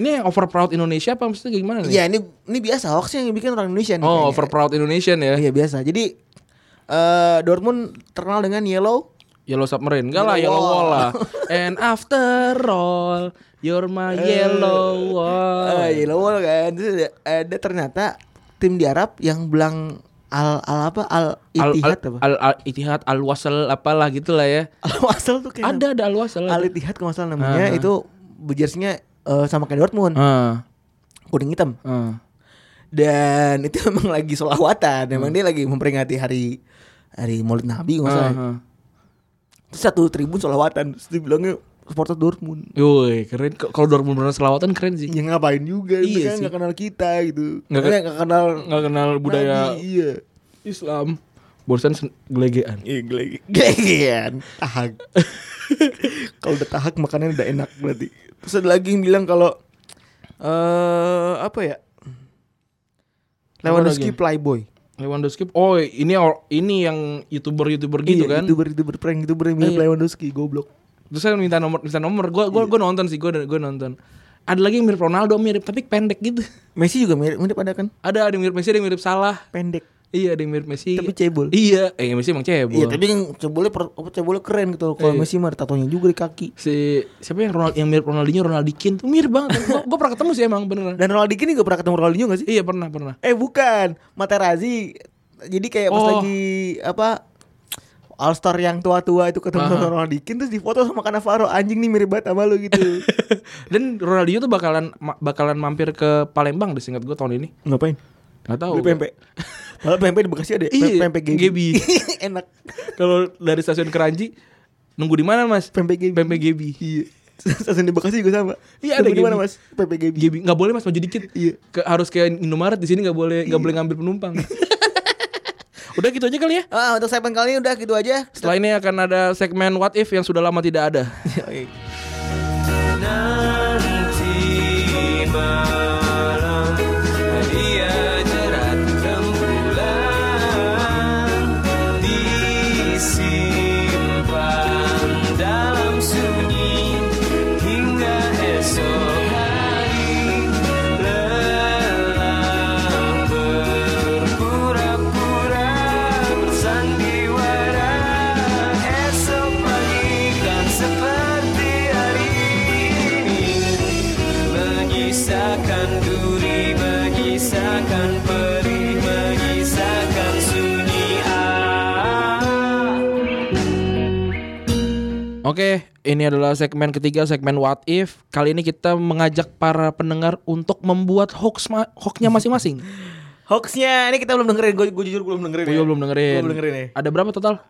Ini yang over proud Indonesia apa maksudnya kayak gimana nih?
Iya ini ini biasa hoaxnya yang bikin orang Indonesia nih.
Hmm. Oh,
kayaknya.
over proud Indonesia ya.
Iya biasa. Jadi eh Dortmund terkenal dengan yellow.
Yellow submarine. Enggak lah,
Yellow
yellow wall
wall.
lah. And after all, you're my yellow wall.
Eh, yellow wall kan. Terus ada, ada ternyata tim di Arab yang bilang al al apa al
Al, al,
itihad apa?
al, al Itihad, Al Wasl apalah gitu lah ya.
Al wasal tuh kayak
Ada ada Al Wasl.
Iya. Al
ada.
itihad kalau nggak salah namanya
Ah.
itu jersinya eh, sama kayak Dortmund
Ah,
kuning hitam.
ah.
dan itu emang lagi solawatan emang dia lagi memperingati hari hari Maulid Nabi nggak salah
Ah, ah.
terus satu tribun solawatan terus dibilangnya supporter Dortmund
Yoi keren K- kalau Dortmund beneran selawatan keren sih
ya ngapain juga
Iya
itu kan
sih.
nggak kenal kita gitu
Nggak
nggak nggak kenal
nggak kenal budaya
Nabi, iya
Islam bosan sen- gelegean
iya gelege- gelegean tahak kalau udah tahak makannya udah enak berarti terus ada lagi yang bilang kalau eh apa ya Lewandowski
lagi?
playboy
Lewandowski oh ini or- ini yang youtuber youtuber gitu
Iya,
kan
youtuber youtuber prank youtuber yang mirip
Iya.
Lewandowski goblok
terus saya minta nomor minta nomor gue
Iya.
gua gua nonton sih gue gue nonton ada lagi yang mirip Ronaldo mirip tapi pendek gitu
Messi juga mirip, mirip ada kan?
ada ada yang mirip Messi ada yang mirip Salah
Pendek.
iya ada yang mirip Messi
Tapi cebol.
iya eh Messi emang cebol
Iya, tapi kan cebolnya per, apa, cebolnya keren gitu. Kalau
Iya.
Messi mah ada tatonya juga di kaki.
si siapa yang Ronald yang mirip Ronaldinho Ronaldikin tuh mirip banget gue gua pernah ketemu sih emang beneran
Dan Ronaldinho ini gak pernah ketemu Ronaldinho gak sih?
iya pernah pernah
Eh bukan, Materazzi. Jadi kayak pas
Oh.
lagi apa All Star yang tua-tua itu ketemu
Aha.
sama Ronaldinho terus difoto sama Cannavaro anjing nih mirip banget sama lo gitu.
Dan Ronaldinho tuh bakalan ma- bakalan mampir ke Palembang deh singkat gue tahun ini.
Ngapain?
Gak tahu.
Beli pempek. Malah pempek di Bekasi ada ya?
Oh, Iya,
Pempek Gebi.
Gebi.
Enak.
Kalau dari stasiun Keranji nunggu di mana Mas?
Pempek Gebi.
Pempek Gebi. Iya.
Stasiun di Bekasi juga sama.
Iya, ada
Di mana
Gebi.
Mas? Pempek Gebi.
Gebi nggak boleh Mas maju dikit.
Iya.
Ke, harus kayak Indomaret di sini nggak boleh nggak boleh ngambil penumpang. Udah gitu aja kali ya.
Ah, untuk segmen kali ini udah gitu aja.
Setelah ini akan ada segmen What If yang sudah lama tidak ada.
Oke.
Nanti malam dia jerat rembulan disimpan dalam sunyi hingga esok hari lelah berpura-pura bersandiwara esok pagi kan seperti hari ini Mengisahkan duri, mengisahkan perih, mengisahkan sunyi ah.
Oke, ini adalah segmen ketiga segmen What If. Kali ini kita mengajak para pendengar untuk membuat hoax ma- hoaxnya masing-masing.
Hoaxnya ini kita belum dengerin, gue, gue jujur belum dengerin.
Gue
ya.
juga belum dengerin.
Gue belum dengerin ya.
Ada berapa total?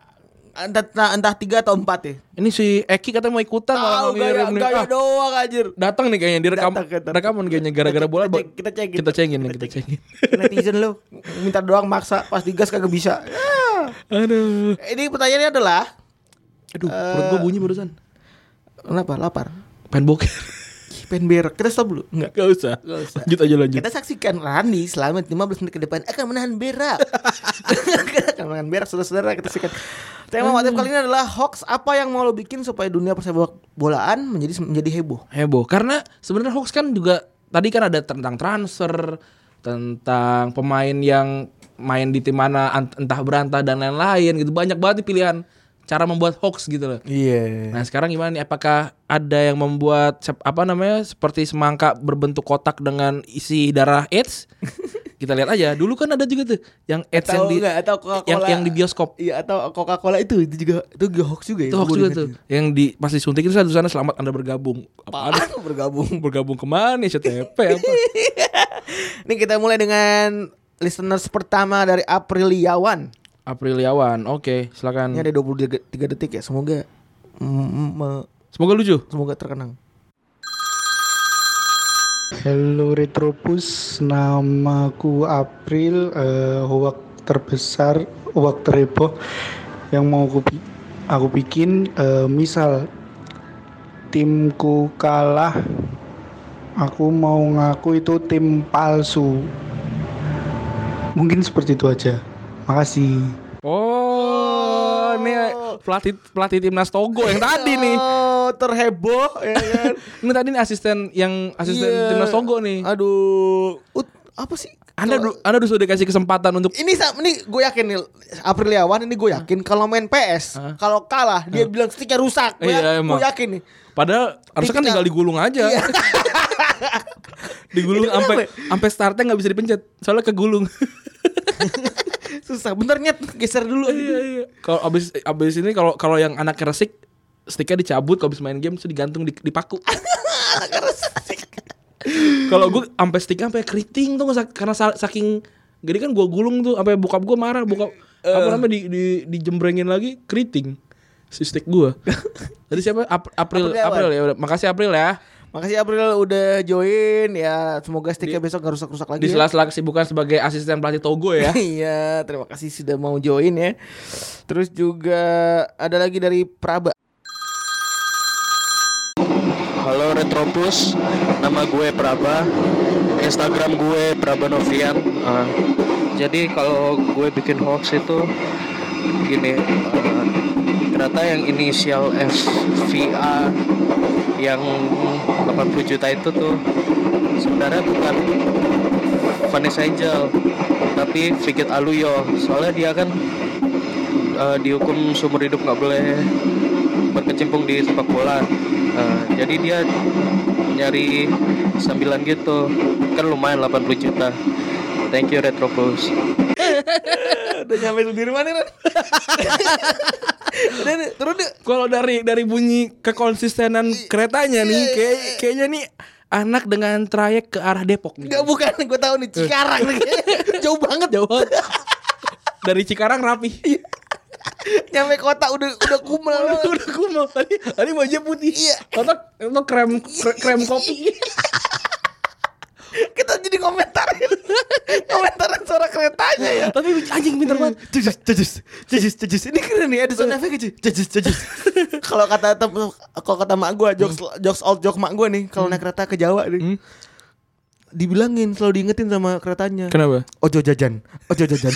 Entah, entah, entah tiga atau empat ya.
Ini si Eki katanya mau ikutan
Tahu
malah
gaya,
ngirim nih.
gaya
Ah,
doang anjir.
datang nih kayaknya di rekam
Datang, datang.
rekaman kayaknya gara-gara
Kita
bola
cek- kita cengin.
kita cengin nih,
Kita
kita cengin.
Netizen lu minta doang maksa pas digas kagak bisa. Ya.
Aduh.
Ini pertanyaannya adalah
Aduh,
Eh,
perut gua bunyi barusan.
kenapa lapar?
Pengen boker.
Pengen berak. Kita stop dulu. Enggak.
Gak usah.
Nggak usah.
Lanjut aja lanjut.
Kita saksikan Randi selama 15 menit ke depan akan menahan berak. akan menahan berak saudara-saudara kita saksikan. Tema WhatsApp kali ini adalah hoax apa yang mau lo bikin supaya dunia persepak bolaan menjadi menjadi heboh.
heboh karena sebenarnya hoax kan juga tadi kan ada tentang transfer tentang pemain yang main di tim mana ant- entah berantah dan lain-lain gitu banyak banget nih pilihan cara membuat hoax gitu loh
Iya.
nah sekarang gimana nih apakah ada yang membuat sep- apa namanya seperti semangka berbentuk kotak dengan isi darah AIDS kita lihat aja dulu kan ada juga tuh yang AIDS yang
Atau
di
enggak atau Coca-Cola.
yang, yang di bioskop
Iya atau Coca-Cola itu itu juga itu juga hoax juga ya.
itu hoax
Gua
juga
ingat
tuh
itu.
yang di pas disuntikin saya sana selamat anda bergabung
Apaan
apa
tuh bergabung.
bergabung kemana nih CTP apa
Ini kita mulai dengan listeners pertama dari Apriliawan.
Apriliawan, oke, silakan.
Ini ada 23 detik ya. Semoga mm, mm, me-
Semoga lucu.
semoga terkenang.
Halo Retropus, namaku April, eh hoak terbesar, hoak terheboh yang mau aku, bi- aku bikin, eh, misal timku kalah, aku mau ngaku itu tim palsu. Mungkin seperti itu aja. Makasih.
Oh, ini pelatih pelatih timnas Togo yang tadi nih.
Oh, terheboh ya kan.
Ini tadi nih asisten yang asisten
Iya.
timnas Togo nih.
Aduh, Ut, apa sih?
Anda
Kalau-
du- Anda sudah dikasih kesempatan untuk
ini sa- ini gue yakin nih Apriliawan ini gue yakin kalau main PS,
Hah?
kalau kalah dia bilang sticknya rusak. Gue
Iya, emang.
gue yakin nih.
padahal harusnya kan
Tipikal-
tinggal digulung aja.
Iya.
digulung
Itu
sampai
kenapa? ya?
sampai startnya nggak bisa dipencet. Soalnya kegulung.
Susah bentar nyet geser dulu.
iya, iya. Kalau abis abis ini kalau kalau yang anak resik sticknya dicabut kalau abis main game terus digantung di, dipaku. kalau gue sampai stick sampai keriting tuh karena sa- saking jadi kan gua gulung tuh sampai bokap gua marah bokap apa namanya di, di dijembrengin lagi keriting si stick gua. Jadi siapa Ap- April
April Awan.
April ya udah. Makasih April ya.
Makasih April udah join ya. Semoga sticknya besok gak rusak-rusak lagi.
Di
ya.
sela-sela kesibukan sebagai asisten pelatih Togo ya.
Iya, terima kasih sudah mau join ya. Terus juga ada lagi dari Praba.
Halo Retropus, nama gue Praba, Instagram gue Praba Novian. Eh, jadi kalau gue bikin hoax itu gini, eh, ternyata yang inisial SVA yang 80 juta itu tuh sebenarnya bukan Vanessa Angel, tapi Figit Aluyo. Soalnya dia kan eh, dihukum seumur hidup nggak boleh berkecimpung di sepak bola. Eh, jadi dia nyari sambilan gitu. Kan lumayan 80 juta. Thank you Retropus.
Udah nyampe sendiri mana Ren? Udah nih, turun yuk.
Kalau dari dari bunyi kekonsistenan
Iya,
keretanya nih, kayak, kayaknya nih anak dengan trayek ke arah Depok nih.
Enggak bukan, gue tahu nih Cikarang nih. Jauh banget Iya.
Jauh banget. dari Cikarang rapi.
nyampe kota udah udah kumel.
Udah udah kumel tadi tadi wajah putih.
Iya.
Otak itu krem kre- krem kopi.
Kita jadi komentarin. komentarin suara keretanya ya.
Tapi anjing pinter banget. Iya.
Cejus, cejus, cejus, cejus. Ini keren nih, ada sound effect cuy. Cejus, cejus. Kalau kata tem- kalau kata mak gue, jokes jokes old joke mak gue nih, kalau naik kereta ke Jawa nih.
Hmm.
Dibilangin selalu diingetin sama keretanya.
Kenapa?
Ojo jajan, ojo jajan.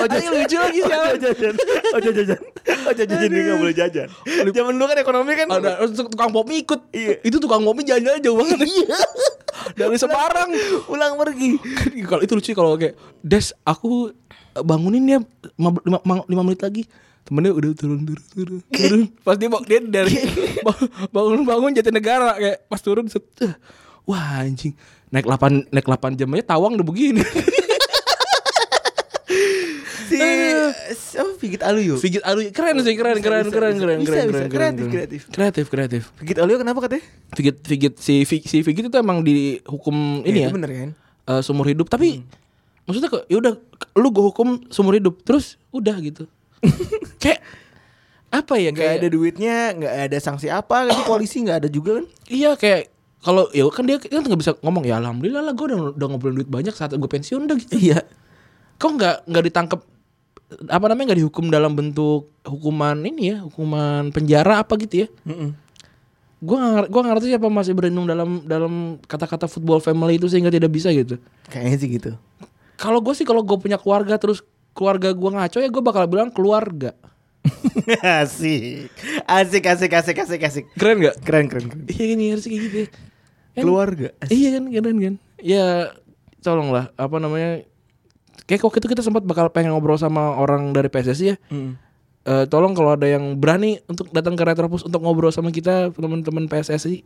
Ojo
Ini lucu lagi sih,
Ojo
Alan.
jajan, ojo jajan, ojo jajan dia nggak boleh jajan. Zaman dulu kan ekonomi kan.
Ada tukang kopi ikut.
Iya.
Itu tukang kopi jalan-jalan jauh banget. Dari Semarang.
Ulang pergi.
kalau itu lucu kalau kayak Des aku eh, bangunin dia 5, menit lagi temennya udah turun turun turun turun pas dia bang- dia dari bangun bangun jati negara kayak pas turun set, eh, wah anjing naik 8 naik 8 jam aja tawang udah begini
Si Eh, siapa Figit Aluyo?
Figit aduh keren sih keren
Bisa,
keren
bisa,
keren keren
bisa. Bisa,
keren keren
bisa. Kreatif,
keren.
kreatif.
kreatif kreatif
Figit Aluyo kenapa katanya?
Figit Figit si Fi- si Figit itu emang dihukum ini ya
Bener kan?
eh, seumur hidup
Hmm.
tapi maksudnya kok ya udah lu gue hukum seumur hidup terus udah gitu kayak apa ya
Gak ada
kayak
duitnya, gak ada sanksi apa, nanti polisi gak ada juga kan?
iya kayak kalau ya kan dia kan nggak bisa ngomong ya alhamdulillah lah gue udah, udah ngobrolin duit banyak saat gue pensiun udah gitu
Iya.
kok nggak nggak ditangkap apa namanya nggak dihukum dalam bentuk hukuman ini ya hukuman penjara apa gitu ya
Mm-mm.
gue nggak gue ngerti siapa masih berenung dalam dalam kata-kata football family itu sehingga tidak bisa gitu
Kayaknya sih gitu.
kalau gue sih kalau gue punya keluarga terus keluarga gue ngaco ya gue bakal bilang keluarga
asik. Asik asik asik asik asik.
keren nggak
Keren keren. keren.
iya kan harus kayak gitu ya. Kan-
Keluarga.
iya kan keren kan ya tolonglah apa namanya kayak waktu itu kita sempat bakal pengen ngobrol sama orang dari PSSI ya
Mm.
Eh, tolong kalau ada yang berani untuk datang ke Retropus untuk ngobrol sama kita teman-teman PSSI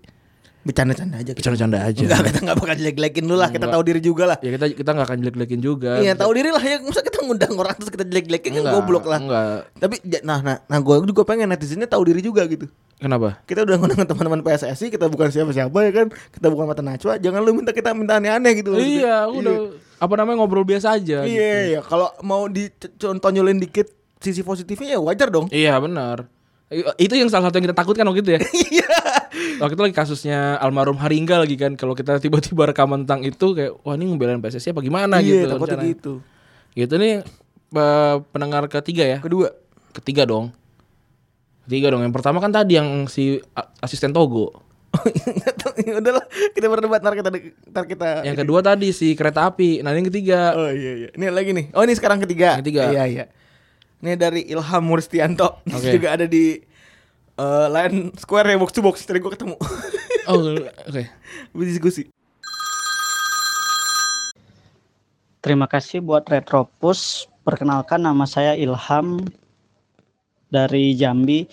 Bercanda-canda aja kita.
bercanda-canda aja
Enggak, kita enggak bakal jelek-jelekin lu lah. Kita tahu diri juga lah.
ya kita kita nggak akan jelek-jelekin juga
Iya, tahu diri lah ya. Masa kita ngundang orang terus kita jelek-jelekin kan
Enggak,
goblok lah.
enggak.
Tapi ja- nah nah nah gue juga pengen netizennya tahu diri juga gitu.
kenapa
Kita udah ngundang teman-teman PSSI, kita bukan siapa-siapa ya kan. Kita bukan mata najwa, jangan lu minta kita minta aneh-aneh gitu.
iya udah apa namanya ngobrol biasa aja
Iya,
gitu.
iya, iya. kalau mau dicontohin dikit sisi positifnya ya wajar dong.
Iya benar. I- Itu yang salah satu yang kita takutkan waktu itu ya.
Iya.
Waktu itu lagi kasusnya almarhum Haringga lagi kan. Kalau kita tiba-tiba rekaman tentang itu kayak wah ini ngebelain PSSI apa gimana
Iya,
gitu.
takutnya
rencananya.
gitu.
Gitu nih eh, pendengar ketiga ya.
Kedua,
Ketiga dong. Ketiga dong. Yang pertama kan tadi yang si a- asisten Togo.
udahlah ya kita berdebat ntar kita ntar kita
Yang kedua tadi si kereta api. Nah ini yang ketiga.
Oh iya iya. Ini lagi nih. Oh ini sekarang ketiga.
Yang ketiga.
Iya iya. Ini dari Ilham Murstianto. Terus
Oke.
juga ada di eh, Line Square ya box to box tadi gue ketemu.
Oh oke.
Berdiskusi.
Terima kasih buat Retropus. Perkenalkan nama saya Ilham dari Jambi.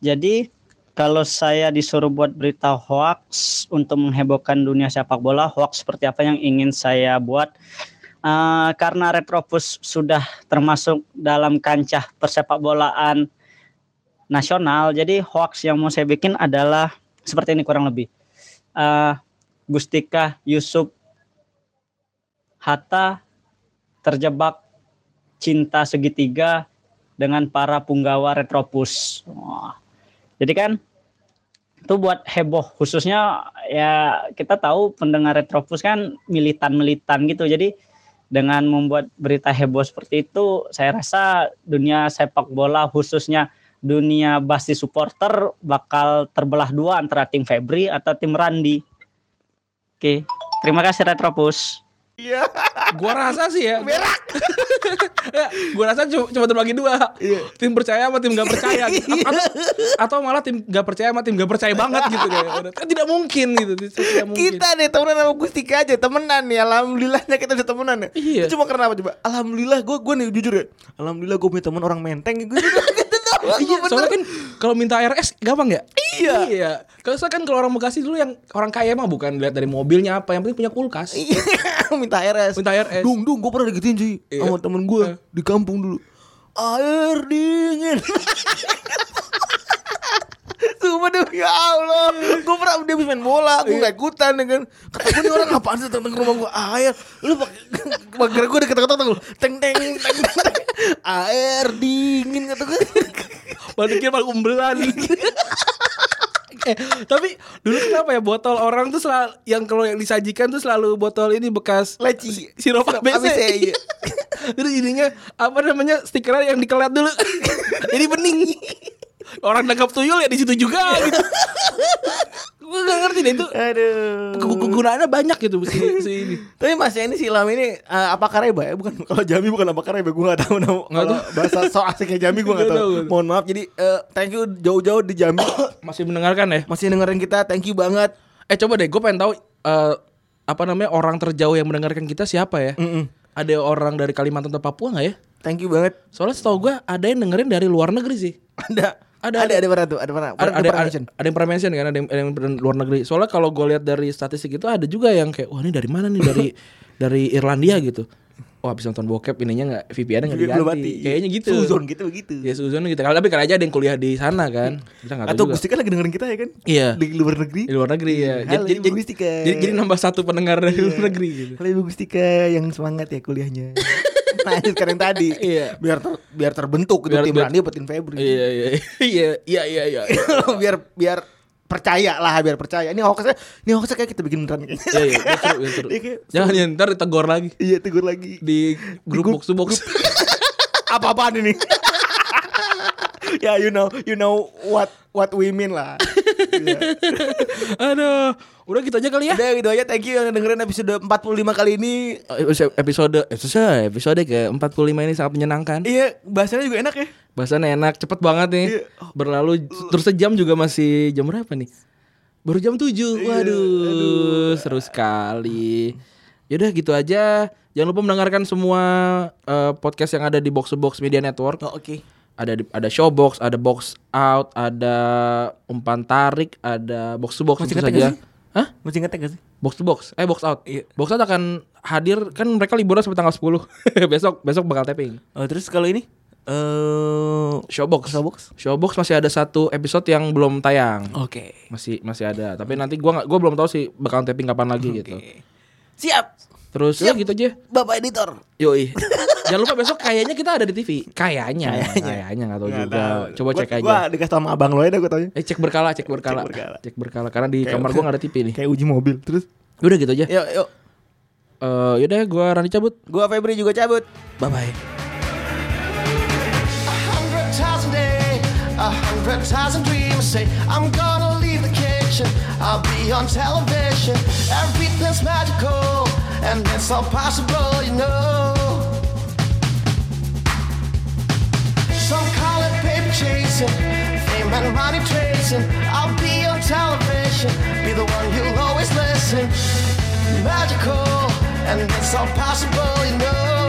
Jadi kalau saya disuruh buat berita hoax untuk menghebohkan dunia sepak bola, hoax seperti apa yang ingin saya buat? Eh, karena Retropus sudah termasuk dalam kancah persepak bolaan nasional, jadi hoax yang mau saya bikin adalah seperti ini kurang lebih. Eh, Gustika Yusuf Hatta terjebak cinta segitiga dengan para punggawa retropus. Wah. Jadi kan itu buat heboh khususnya ya kita tahu pendengar retropus kan militan-militan gitu. Jadi dengan membuat berita heboh seperti itu saya rasa dunia sepak bola khususnya dunia basis supporter bakal terbelah dua antara tim Febri atau tim Randi. Oke, terima kasih Retropus.
Iya.
Gua rasa sih ya. Berak. gua rasa cuma, cuma terbagi dua.
Iya.
Tim percaya sama tim gak percaya. gitu. atau, atau malah tim gak percaya sama tim gak percaya banget gitu deh. Kan tidak mungkin gitu. Tidak mungkin.
Kita nih temenan sama Gustika aja temenan nih. Alhamdulillahnya kita bisa temenan. Ya.
Iya.
Itu cuma karena apa coba? Alhamdulillah gue gue nih jujur ya. Alhamdulillah gue punya teman orang menteng. Gue gitu doang.
Iya,
Gua
soalnya
bener.
kan kalau minta RS gampang ya?
Iya.
Iya. Kalau saya kan kalau orang Bekasi dulu yang orang kaya mah bukan lihat dari mobilnya apa, yang penting punya kulkas.
Iya. minta RS.
Minta RS.
Dung dung gue pernah digituin cuy sama temen gue di kampung dulu. Air dingin. Sumpah demi Allah Gue pernah dia habis main bola Gue gak ikutan ya kan Kata gue nih orang apaan sih tentang rumah gue air Lu pakai Kira gue udah ketok-ketok tuh, Teng teng teng teng Air dingin kata gue
Baru pikir paling umbelan. eh, tapi dulu kenapa ya botol orang tuh selalu yang kalau yang disajikan tuh selalu botol ini bekas
Leci
sirup ABC.
ABC, iya.
Terus jadinya apa namanya stikernya yang dikelat dulu. Jadi bening. Orang nangkap tuyul ya di situ juga gitu. Gue gak ngerti deh itu.
Aduh
ke- Kegunaannya banyak gitu si, si ini.
Tapi Mas yang ini si Ilham ini eh, apa kareba ya? Bukan kalau Jambi bukan apa kareba gue gak tahu nama.
Nggak
Kalau bahasa so asiknya Jambi gue gak
Nggak
tahu.
tahu, nggak tahu.
Mohon maaf. Jadi eh, thank you jauh-jauh di Jambi
Masih mendengarkan ya?
masih dengerin kita. Thank you banget.
Eh coba deh, gue pengen tahu eh, apa namanya orang terjauh yang mendengarkan kita siapa ya?
Mm-mm.
Ada orang dari Kalimantan atau Papua nggak ya?
Thank you banget.
Soalnya setahu gue ada yang dengerin dari luar negeri sih.
Ada
Ada, ada.
ada ada ada pernah tuh ada pernah.
Ada, ada,
Pernah pernah
ada,
mention.
ada yang pernah mention kan ada yang, ada yang dari luar negeri. Soalnya kalau gue lihat dari statistik itu ada juga yang kayak wah ini dari mana nih dari dari Irlandia gitu. Oh habis nonton bokep ininya nggak VPN nggak
Belum
diganti.
mati.
Kayaknya gitu.
Suzon gitu begitu.
Ya suzon gitu. Kalau tapi kan aja ada yang kuliah di sana kan. Kita nggak tahu
Iya. Atau
juga.
Gustika lagi dengerin kita ya kan?
Iya.
Di luar negeri.
Di luar negeri ya.
Halo,
Jadi,
Ibu
jadi,
Gustika.
jadi, jadi nambah satu pendengar dari luar negeri gitu.
Iya. Halo Ibu Gustika yang semangat ya kuliahnya. Lanjut sekarang tadi.
Iya.
Biar ter- biar terbentuk gitu
Biar-
tim
biar-
Randi dapetin Febri.
Iya iya iya iya iya iya.
biar biar percaya lah biar percaya ini hoaxnya ini hoaxnya kayak kita bikin beneran kayaknya.
Iya iya betul, betul.
Iya, kayak-
Jangan ya, ntar ditegur lagi
iya tegur lagi
di grup box to box.
apa-apaan ini? ya you know, you know what what we mean lah.
Aduh, udah gitu aja kali ya.
Udah gitu aja, thank you yang dengerin episode 45 kali ini.
Eh, Episode episode episode ke 45 ini sangat menyenangkan.
Iya, bahasanya juga enak ya.
Bahasannya enak, cepet banget nih.
Iya.
Berlalu terus sejam juga masih jam berapa nih? Baru jam 7.
Iya,
Waduh, seru sekali. Yaudah gitu aja. Jangan lupa mendengarkan semua eh, podcast yang ada di Box to Box Media Network.
Oh, oke.
Ada di, ada Showbox, ada Box Out, ada Umpan Tarik, ada Box to Box tentu
Masih ketik
saja.
gak sih?
Hah?
Masih ingat gak sih?
Box to box, eh box out.
Iya.
Box out akan hadir kan mereka liburan sampai tanggal 10. besok besok bakal tapping.
Oh, terus kalau ini eh
Showbox.
Showbox.
Showbox masih ada satu episode yang belum tayang.
Oke.
Masih masih ada, tapi nanti gua nggak gua belum tahu sih bakal tapping kapan lagi gitu.
Siap,
Terus ya gitu aja.
Bapak editor.
Yoi. Jangan lupa besok kayaknya kita ada di TV. Kayaknya.
Kayaknya.
Kayaknya nggak tahu
Nggak
juga.
tahu.
Coba
Gua-
cek aja.
Gua dikasih sama abang lo aja gue tanya.
Eh cek berkala, cek berkala. Cek berkala.
berkala.
karena di
Kayak-
kamar gua nggak ada TV nih.
Kayak uji mobil. Terus
Udah gitu aja. Eh
yuk yuk.
yaudah gua Rani cabut.
Gua Febri juga cabut.
Bye bye.
hundred thousand day, a hundred thousand dreams. Say, I'm gonna leave the kitchen, I'll be on television. Everything's magical, and it's all possible, you know. Some call it paper chasing, fame and money tracing. I'll be on television, be the one you'll always listen. Magical, and it's all possible, you know.